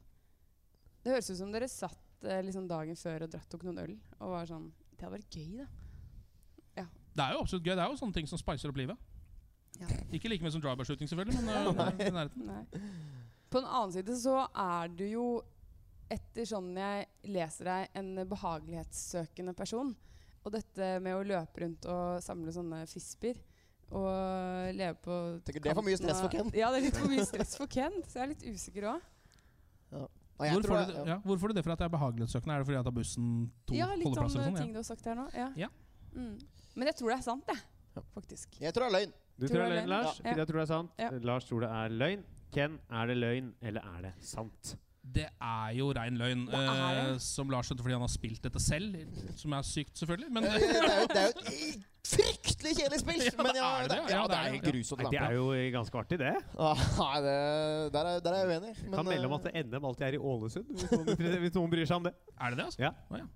Speaker 5: Det høres ut som dere satt eh, liksom dagen før og drakk tok noen øl og var sånn Det hadde vært gøy, da.
Speaker 3: Det er jo absolutt gøy. Det er jo sånne ting som spicer opp livet.
Speaker 5: Ja.
Speaker 3: Ikke like mye som drive-by-shooting, selvfølgelig, men eh, i nærheten.
Speaker 5: Nei. På den annen side så er du jo, etter sånn jeg leser deg, en behagelighetssøkende person. Og dette med å løpe rundt og samle sånne fisper og leve på
Speaker 4: Tenker, det er for mye
Speaker 5: kanten
Speaker 4: stress for
Speaker 5: av-
Speaker 4: Ken.
Speaker 5: Ja, det er litt for mye stress for Ken, så jeg er litt usikker òg.
Speaker 4: Nei, jeg
Speaker 3: Hvor
Speaker 4: tror
Speaker 3: får, du,
Speaker 4: det-
Speaker 3: det- ja, hvor får du det fra at jeg er behagelighetssøkende? Er det fordi jeg tar bussen to
Speaker 5: Ja, litt om
Speaker 3: holdeplasser?
Speaker 5: eh,
Speaker 3: og
Speaker 5: ting
Speaker 3: sånn?
Speaker 5: du har sagt her nå. Ja.
Speaker 3: Ja.
Speaker 5: Mm. Men jeg tror det er sant,
Speaker 4: Ja.
Speaker 5: jeg. Faktisk.
Speaker 4: Jeg tror det er løgn.
Speaker 2: Du
Speaker 5: Tror
Speaker 2: tror det
Speaker 5: det
Speaker 2: er løgn, Lars.
Speaker 5: Ja.
Speaker 2: Frida tror det er sant.
Speaker 5: Ja.
Speaker 2: Lars tror det er løgn. Ken, er det løgn, eller er det sant?
Speaker 3: Ja. Det er jo rein løgn,
Speaker 5: Hva er
Speaker 3: eh,
Speaker 5: det?
Speaker 3: som Lars skjønte fordi han har spilt dette selv. Som er sykt, selvfølgelig. Men
Speaker 4: Det er jo, det er jo et fryktelig kjedelig spill!
Speaker 3: Ja,
Speaker 4: Men
Speaker 3: det
Speaker 4: ja,
Speaker 3: er
Speaker 4: det,
Speaker 3: det,
Speaker 4: ja,
Speaker 3: ja,
Speaker 4: det
Speaker 3: det
Speaker 4: er
Speaker 3: er
Speaker 4: helt
Speaker 3: det.
Speaker 4: grusomt.
Speaker 2: Nei, det er jo eh, ganske artig, det.
Speaker 4: Ah, Nei, det, der, er, der er jeg uenig. Men,
Speaker 2: Kan melde om
Speaker 4: eh,
Speaker 2: at NM alltid er i Ålesund, hvis noen, hvis noen bryr seg om det.
Speaker 3: er det det, altså?
Speaker 2: Ja.
Speaker 3: Å, ja.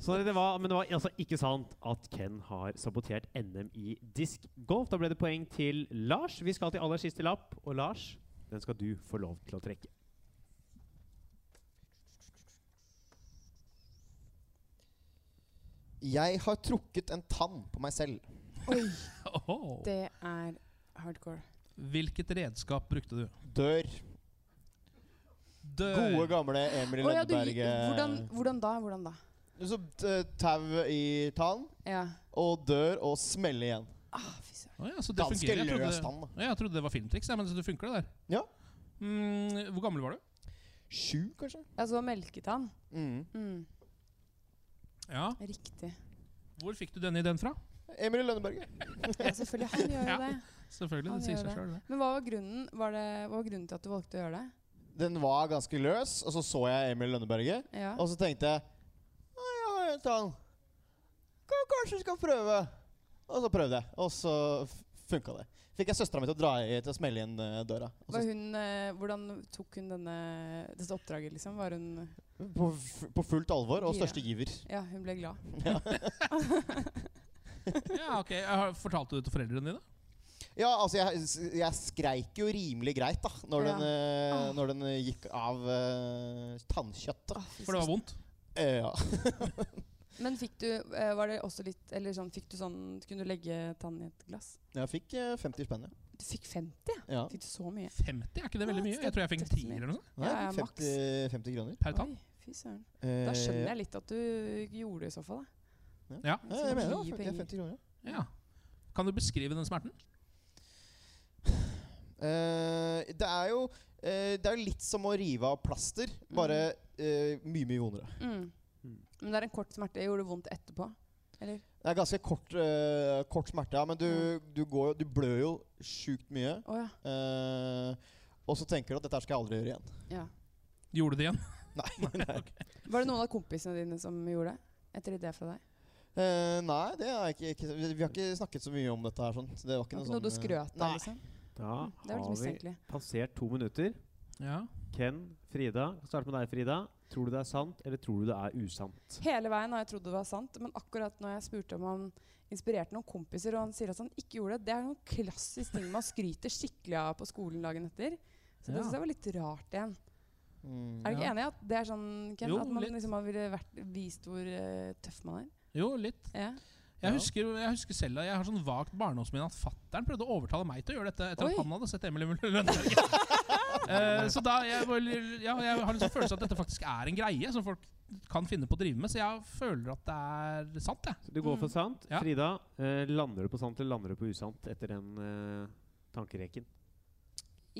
Speaker 2: Så det var, men det var altså ikke sant at Ken har sabotert NM i diskgolf. Da ble det poeng til Lars. Vi skal til aller siste lapp, og Lars, den skal du få lov til å trekke.
Speaker 4: Jeg har trukket en tann på meg selv.
Speaker 5: Oi,
Speaker 3: Åhå.
Speaker 5: det er hardcore.
Speaker 3: Hvilket redskap brukte du?
Speaker 4: Dør.
Speaker 3: Dør.
Speaker 4: Gode, gamle Emil eh, i
Speaker 5: Å, ja, du, gi-
Speaker 4: Lønneberget.
Speaker 5: hvordan, hvordan da? Hvordan da?
Speaker 4: Så eh, tau i tann,
Speaker 5: Ja.
Speaker 4: og dør, og smelle igjen.
Speaker 5: Ah, fy søren.
Speaker 3: Å ja, så det
Speaker 4: Ganske
Speaker 3: fungerer. Jeg trodde-
Speaker 4: løs tann. da.
Speaker 3: Ja, jeg trodde det var filmtriks, ja, men så det funker det der.
Speaker 4: Ja.
Speaker 3: Mm, hvor gammel var du?
Speaker 4: Sju, kanskje?
Speaker 5: Altså melketann.
Speaker 4: Mm.
Speaker 5: Mm,
Speaker 3: Ja.
Speaker 5: riktig.
Speaker 3: Hvor fikk du den ideen fra?
Speaker 4: Emil i Lønneberget.
Speaker 5: Ja, selvfølgelig. Han gjør jo
Speaker 3: Ja.
Speaker 5: det.
Speaker 3: Selvfølgelig,
Speaker 5: Han
Speaker 3: det sier
Speaker 5: gjør
Speaker 3: seg sjøl.
Speaker 5: Men hva var grunnen, var det, hva var grunnen til at du valgte å gjøre det?
Speaker 4: Den var ganske løs, og så så jeg Emil i Lønneberget.
Speaker 5: Ja.
Speaker 4: Og så tenkte jeg «Å, ja, vent da. Ka- Kanskje vi skal prøve. Og så prøvde jeg, og så f- funka det. Fikk jeg søstera mi til å dra i, til å smelle igjen eh, døra. Og
Speaker 5: Var
Speaker 4: så,
Speaker 5: hun, eh, hvordan tok hun denne, dette oppdraget, liksom? Var hun
Speaker 4: på, f- på fullt alvor og
Speaker 5: Gira.
Speaker 4: største giver.
Speaker 5: Ja, hun ble glad.
Speaker 3: Ja, ok. Jeg har, fortalte du det til foreldrene dine?
Speaker 4: Ja, altså, jeg, jeg skreik jo rimelig greit da når,
Speaker 5: Ja.
Speaker 4: den, eh,
Speaker 5: Ah.
Speaker 4: når den eh, gikk av eh, tannkjøttet.
Speaker 3: For det var vondt?
Speaker 4: Eh, ja.
Speaker 5: Men fikk du eh, Var det også litt Eller sånn, fikk du sånn Kunne du legge tannen i et glass?
Speaker 4: Jeg fikk eh, 50 spenn, ja.
Speaker 5: Du fikk 50?
Speaker 4: ja.
Speaker 5: Fikk du så mye?
Speaker 3: 50, er ikke det veldig mye? Jeg tror jeg fikk en tier eller noe sånt
Speaker 4: Nei,
Speaker 5: Ja, ja,
Speaker 4: jeg fikk 50, 50 kroner.
Speaker 3: per tann.
Speaker 5: Oi, fy søren.
Speaker 4: Eh,
Speaker 5: Da skjønner jeg litt at du gjorde det i så fall, da.
Speaker 3: Ja.
Speaker 5: Det er
Speaker 4: Ja,
Speaker 5: så
Speaker 4: jeg mener det var
Speaker 5: mye
Speaker 4: 50, 50 kroner.
Speaker 3: Ja. Kan du beskrive den smerten?
Speaker 4: Eh, det er jo eh, Det er jo litt som å rive av plaster, bare eh, mye, mye vondere.
Speaker 5: Mm.
Speaker 4: Hmm.
Speaker 2: Mm.
Speaker 5: Men det er en kort smerte. Gjorde det vondt etterpå? Eller?
Speaker 4: Det er ganske kort, eh, kort smerte, ja, men du, du, går, jo- du blør jo sjukt mye.
Speaker 5: Å ja.
Speaker 4: eh, og så tenker du at dette her skal jeg aldri gjøre igjen.
Speaker 5: ja.
Speaker 3: Gjorde du det igjen?
Speaker 4: Nei. nei.
Speaker 5: Var det noen av kompisene dine som gjorde det? Etter idé fra deg?
Speaker 4: Eh, nei, det er ikke, ikke Vi vi har ikke snakket så mye om dette her. Sånn. så Det var
Speaker 5: Det
Speaker 4: ikke
Speaker 5: var
Speaker 4: noe
Speaker 5: ikke noe du
Speaker 4: sånn, eh,
Speaker 5: skrøt av,
Speaker 4: Nei.
Speaker 5: liksom?
Speaker 2: Da
Speaker 5: Mm, Det var
Speaker 2: har
Speaker 5: litt
Speaker 2: vi
Speaker 5: mistenkelig.
Speaker 2: passert to minutter.
Speaker 3: Ja.
Speaker 2: Ken, Frida, kan starte med deg, Frida. Tror du det er sant, eller tror du det er usant?
Speaker 5: Hele veien har jeg trodd det var sant, men akkurat når jeg spurte om han inspirerte noen kompiser, og han sier at han ikke gjorde det, det er noen klassisk ting man skryter skikkelig av på skolen dagen etter. Så det
Speaker 3: Ja.
Speaker 5: synes jeg var litt rart igjen.
Speaker 4: Mm.
Speaker 5: Er du ikke
Speaker 3: Ja.
Speaker 5: enig i at det er sånn, Ken,
Speaker 3: Jo,
Speaker 5: at man
Speaker 3: litt.
Speaker 5: liksom man ville vært, vist hvor eh, tøff man er?
Speaker 3: Jo, litt.
Speaker 5: Ja.
Speaker 3: Jeg
Speaker 4: Ja.
Speaker 3: husker, jeg husker selv da, jeg har sånn vagt barndomsminne at fattern prøvde å overtale meg til å gjøre dette etter
Speaker 5: Oi.
Speaker 3: at han hadde sett Emil i Lønneberget. Eh, så da jeg, var litt- ja, jeg har liksom følelsen at dette faktisk er en greie som folk kan finne på å drive med, så jeg føler at det er sant, jeg.
Speaker 2: Så du går for
Speaker 5: Mm.
Speaker 2: sant.
Speaker 3: Ja.
Speaker 2: Frida, eh, lander du på sant eller lander du på usant etter den eh, tankerekken?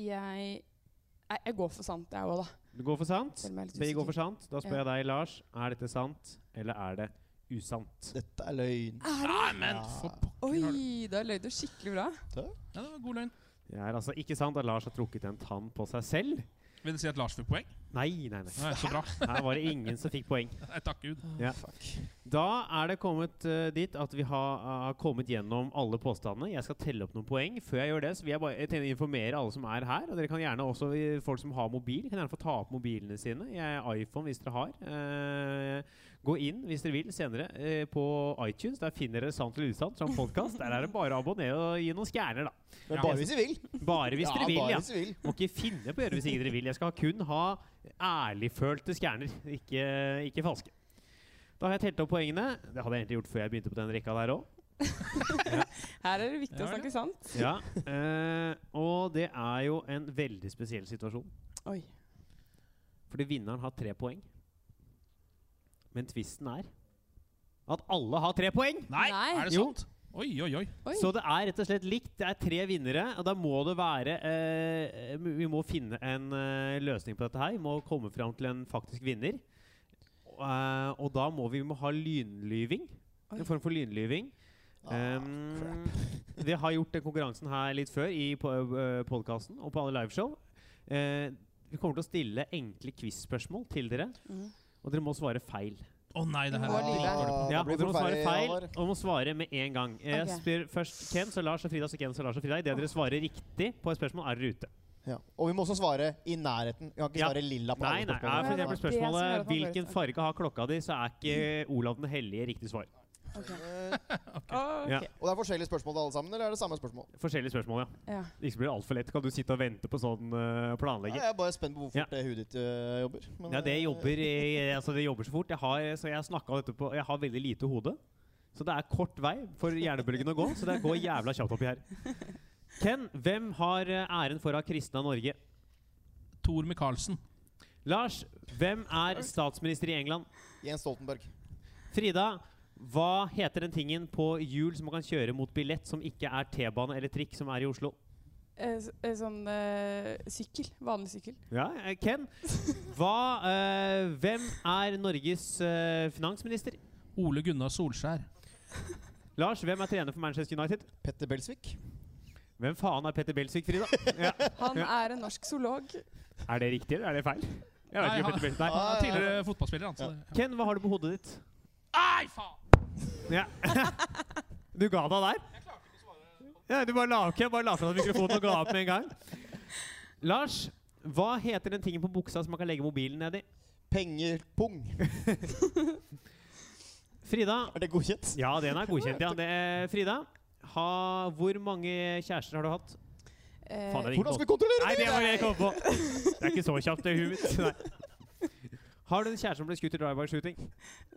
Speaker 5: Jeg, nei, jeg går for sant, jeg òg, da.
Speaker 2: Du går for sant.
Speaker 5: Selv om jeg er litt
Speaker 2: Begge går
Speaker 5: usikker.
Speaker 2: for sant. Da spør
Speaker 5: Ja.
Speaker 2: jeg deg, Lars. Er dette sant, eller er det usant?
Speaker 4: Dette er løgn.
Speaker 3: Nei, men
Speaker 4: Ja.
Speaker 3: for pokker har du
Speaker 5: Oi, da løy du skikkelig bra.
Speaker 3: Ja, det var god løgn.
Speaker 2: Det er altså ikke sant at Lars har trukket en tann på seg selv.
Speaker 3: Vil det si at Lars fikk poeng?
Speaker 2: Nei, nei, nei.
Speaker 3: Nei, så bra.
Speaker 2: Her var det ingen som fikk poeng.
Speaker 3: Nei, takk Gud.
Speaker 2: Ja.
Speaker 4: Ah, Fuck.
Speaker 2: Da er det kommet eh, dit at vi har, har kommet gjennom alle påstandene. Jeg skal telle opp noen poeng. Før jeg gjør det, så vil jeg bare jeg tenker å informere alle som er her. Og dere kan gjerne også, eh, folk som har mobil, kan gjerne få ta opp mobilene sine. Jeg er iPhone hvis dere har. Eh, gå inn hvis dere vil senere eh, på iTunes. Der finner dere Sant eller usant som podkast. Der er det bare å abonnere og gi noen stjerner, da.
Speaker 4: Men
Speaker 3: Ja.
Speaker 4: bare hvis du vil.
Speaker 2: Bare hvis dere vil,
Speaker 4: bare
Speaker 2: ja.
Speaker 4: hvis du vil.
Speaker 2: Må ikke finne på å gjøre det hvis ikke dere vil. Jeg skal kun ha ærligfølte stjerner, ikke, ikke falske. Da har jeg telt opp poengene. Det hadde jeg egentlig gjort før jeg begynte på den rekka der òg.
Speaker 5: Her er det viktig
Speaker 3: Ja,
Speaker 5: å
Speaker 3: ja.
Speaker 5: snakke sant.
Speaker 2: Ja. eh, og det er jo en veldig spesiell situasjon.
Speaker 5: Oi.
Speaker 2: Fordi vinneren har tre poeng. Men tvisten er at alle har tre poeng!
Speaker 3: Nei,
Speaker 5: Nei.
Speaker 3: er det
Speaker 2: Jo.
Speaker 3: sant? Oi, oi, oi.
Speaker 5: Oi.
Speaker 2: Så det er rett og slett likt. Det er tre vinnere. Og da må det være eh, Vi må finne en eh, løsning på dette her. Vi må komme fram til en faktisk vinner. Eh, og da må vi vi må ha lynlyving.
Speaker 5: Oi.
Speaker 2: En form for lynlyving.
Speaker 4: Ah,
Speaker 2: Um,
Speaker 4: crap.
Speaker 2: vi har gjort den konkurransen her litt før i po podkasten og på alle liveshow. Eh, vi kommer til å stille enkle quiz-spørsmål til dere,
Speaker 5: Mm.
Speaker 2: og dere må svare feil.
Speaker 3: Å nei, det her
Speaker 5: Må
Speaker 3: er
Speaker 5: lyve.
Speaker 3: dritdårlig.
Speaker 4: Ah,
Speaker 2: Ja,
Speaker 4: da
Speaker 2: og
Speaker 4: blir det
Speaker 2: dere må svare
Speaker 4: forferdelig,
Speaker 2: feil,
Speaker 4: Halvor.
Speaker 2: og dere må svare med en gang. Jeg
Speaker 5: Ok.
Speaker 2: spør først Ken, så Lars, så Frida, så Ken, så Lars og Frida. Idet dere svarer riktig på et spørsmål, er dere ute.
Speaker 4: Ja. Og vi må også svare i nærheten. Vi kan ikke
Speaker 2: Ja.
Speaker 4: svare lilla på
Speaker 2: Nei, nei.
Speaker 4: alle
Speaker 2: Ja, for eksempel
Speaker 4: spørsmålene.
Speaker 5: Det er det som gjør
Speaker 2: spørsmålet
Speaker 5: at man blir
Speaker 2: hvilken
Speaker 5: ute.
Speaker 2: farge har klokka di, så er ikke Olav den hellige riktig svar.
Speaker 5: Ok.
Speaker 4: Eh,
Speaker 5: Ok.
Speaker 2: Ja.
Speaker 4: og det er forskjellige spørsmål til alle sammen, eller er det samme spørsmål?
Speaker 2: Forskjellige spørsmål, ja.
Speaker 5: Ja.
Speaker 2: Ikke så blir det altfor lett. Kan du sitte og vente på sånn uh,
Speaker 4: Ja,
Speaker 2: planlegging?
Speaker 4: jeg er bare spent på hvor
Speaker 2: Ja.
Speaker 4: fort det huet ditt øh, jobber. men,
Speaker 2: Ja, det
Speaker 4: øh,
Speaker 2: jobber, i- altså det jobber så fort. Jeg har, så jeg har snakket om dette på Jeg har veldig lite hode. Så det er kort vei for hjernebølgen å gå. Så det går jævla kjapt oppi her. Ken, hvem har eh, æren for å ha kristna Norge?
Speaker 3: Tor Micaelsen.
Speaker 2: Lars, hvem er statsminister i England?
Speaker 4: Jens Stoltenberg.
Speaker 2: Frida, hva heter den tingen på hjul som man kan kjøre mot billett, som ikke er T-bane eller trikk, som er i Oslo?
Speaker 5: Eh, s- eh, sånn eh, sykkel. Vanlig sykkel.
Speaker 2: Ja, eh, Ken, hva, eh, hvem er Norges eh, finansminister?
Speaker 3: Ole Gunnar Solskjær.
Speaker 2: Lars, hvem er trener for Manchester United?
Speaker 4: Petter Belsvik.
Speaker 2: Hvem faen er Petter Belsvik, Frida? Ja.
Speaker 5: Han er en norsk zoolog.
Speaker 2: Er det riktig, eller er det feil? Jeg vet
Speaker 3: Nei,
Speaker 2: ikke
Speaker 3: han-
Speaker 2: hvem Petter Belsvik
Speaker 3: Han
Speaker 2: er.
Speaker 3: er tidligere fotballspiller, han. Så
Speaker 4: Ja.
Speaker 3: det-
Speaker 2: Ken, hva har du på hodet ditt?
Speaker 3: Nei, faen!
Speaker 2: Ja. Du ga deg der? Ja, du bare la ok, jeg bare la fra deg mikrofonen og ga opp med en gang. Lars, hva heter den tingen på buksa som man kan legge mobilen nedi?
Speaker 4: Penger pung.
Speaker 2: Frida
Speaker 4: Er det godkjent?
Speaker 2: Ja, den er godkjent, ja. Det er Frida, ha, hvor mange kjærester har du hatt?
Speaker 5: Eh,
Speaker 2: Faen, det er
Speaker 4: Hvordan skal
Speaker 2: ingen
Speaker 4: vi kontrollere
Speaker 2: Nei, det var det jeg kom på! Det er ikke så kjapt, det huet mitt. Nei. Har du en kjæreste som ble skutt i drive-by-shooting?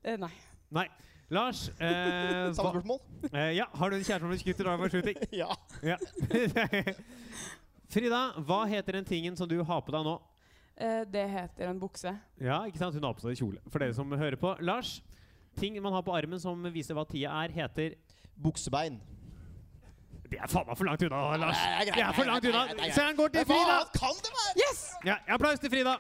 Speaker 5: eh, nei.
Speaker 2: Nei. Lars, eh,
Speaker 4: Samme
Speaker 2: hva,
Speaker 4: spørsmål?
Speaker 2: eh, ja, har du en kjæreste som ble skutt i drive-by-shooting?
Speaker 4: Ja.
Speaker 2: Ja. Frida, hva heter den tingen som du har på deg nå?
Speaker 5: Eh, det heter en bukse.
Speaker 2: Ja, ikke sant? Hun har på seg kjole. For dere som hører på. Lars, ting man har på armen som viser hva tida er, heter
Speaker 4: Buksebein.
Speaker 2: Det er faen meg for langt unna, Lars!
Speaker 4: Nei, det er
Speaker 2: Det
Speaker 4: greit,
Speaker 2: er for
Speaker 4: det er
Speaker 2: langt
Speaker 4: greit,
Speaker 2: unna!
Speaker 4: det er greit.
Speaker 2: Se, han går til Frida!
Speaker 4: Hva kan det være?
Speaker 5: Yes!
Speaker 2: Ja, applaus til Frida!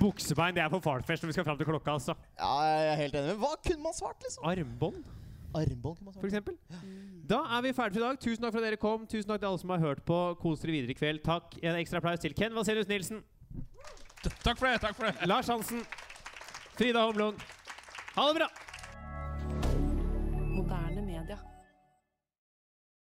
Speaker 2: Buksebein, det er for fartfest når vi skal fram til klokka, altså.
Speaker 4: Ja, jeg er helt enig. Men hva kunne man svart, liksom?
Speaker 2: Armbånd,
Speaker 4: Armbånd kunne man
Speaker 2: for
Speaker 4: svart.
Speaker 2: eksempel. Da er vi ferdige for i dag. Tusen takk for at dere kom. Tusen takk til alle som har hørt på. Kos dere videre i kveld. Takk. En ekstra applaus til Ken Vasenius Nilsen,
Speaker 3: Takk for det. takk for det.
Speaker 2: Lars Hansen, Frida Homlung. Ha det bra!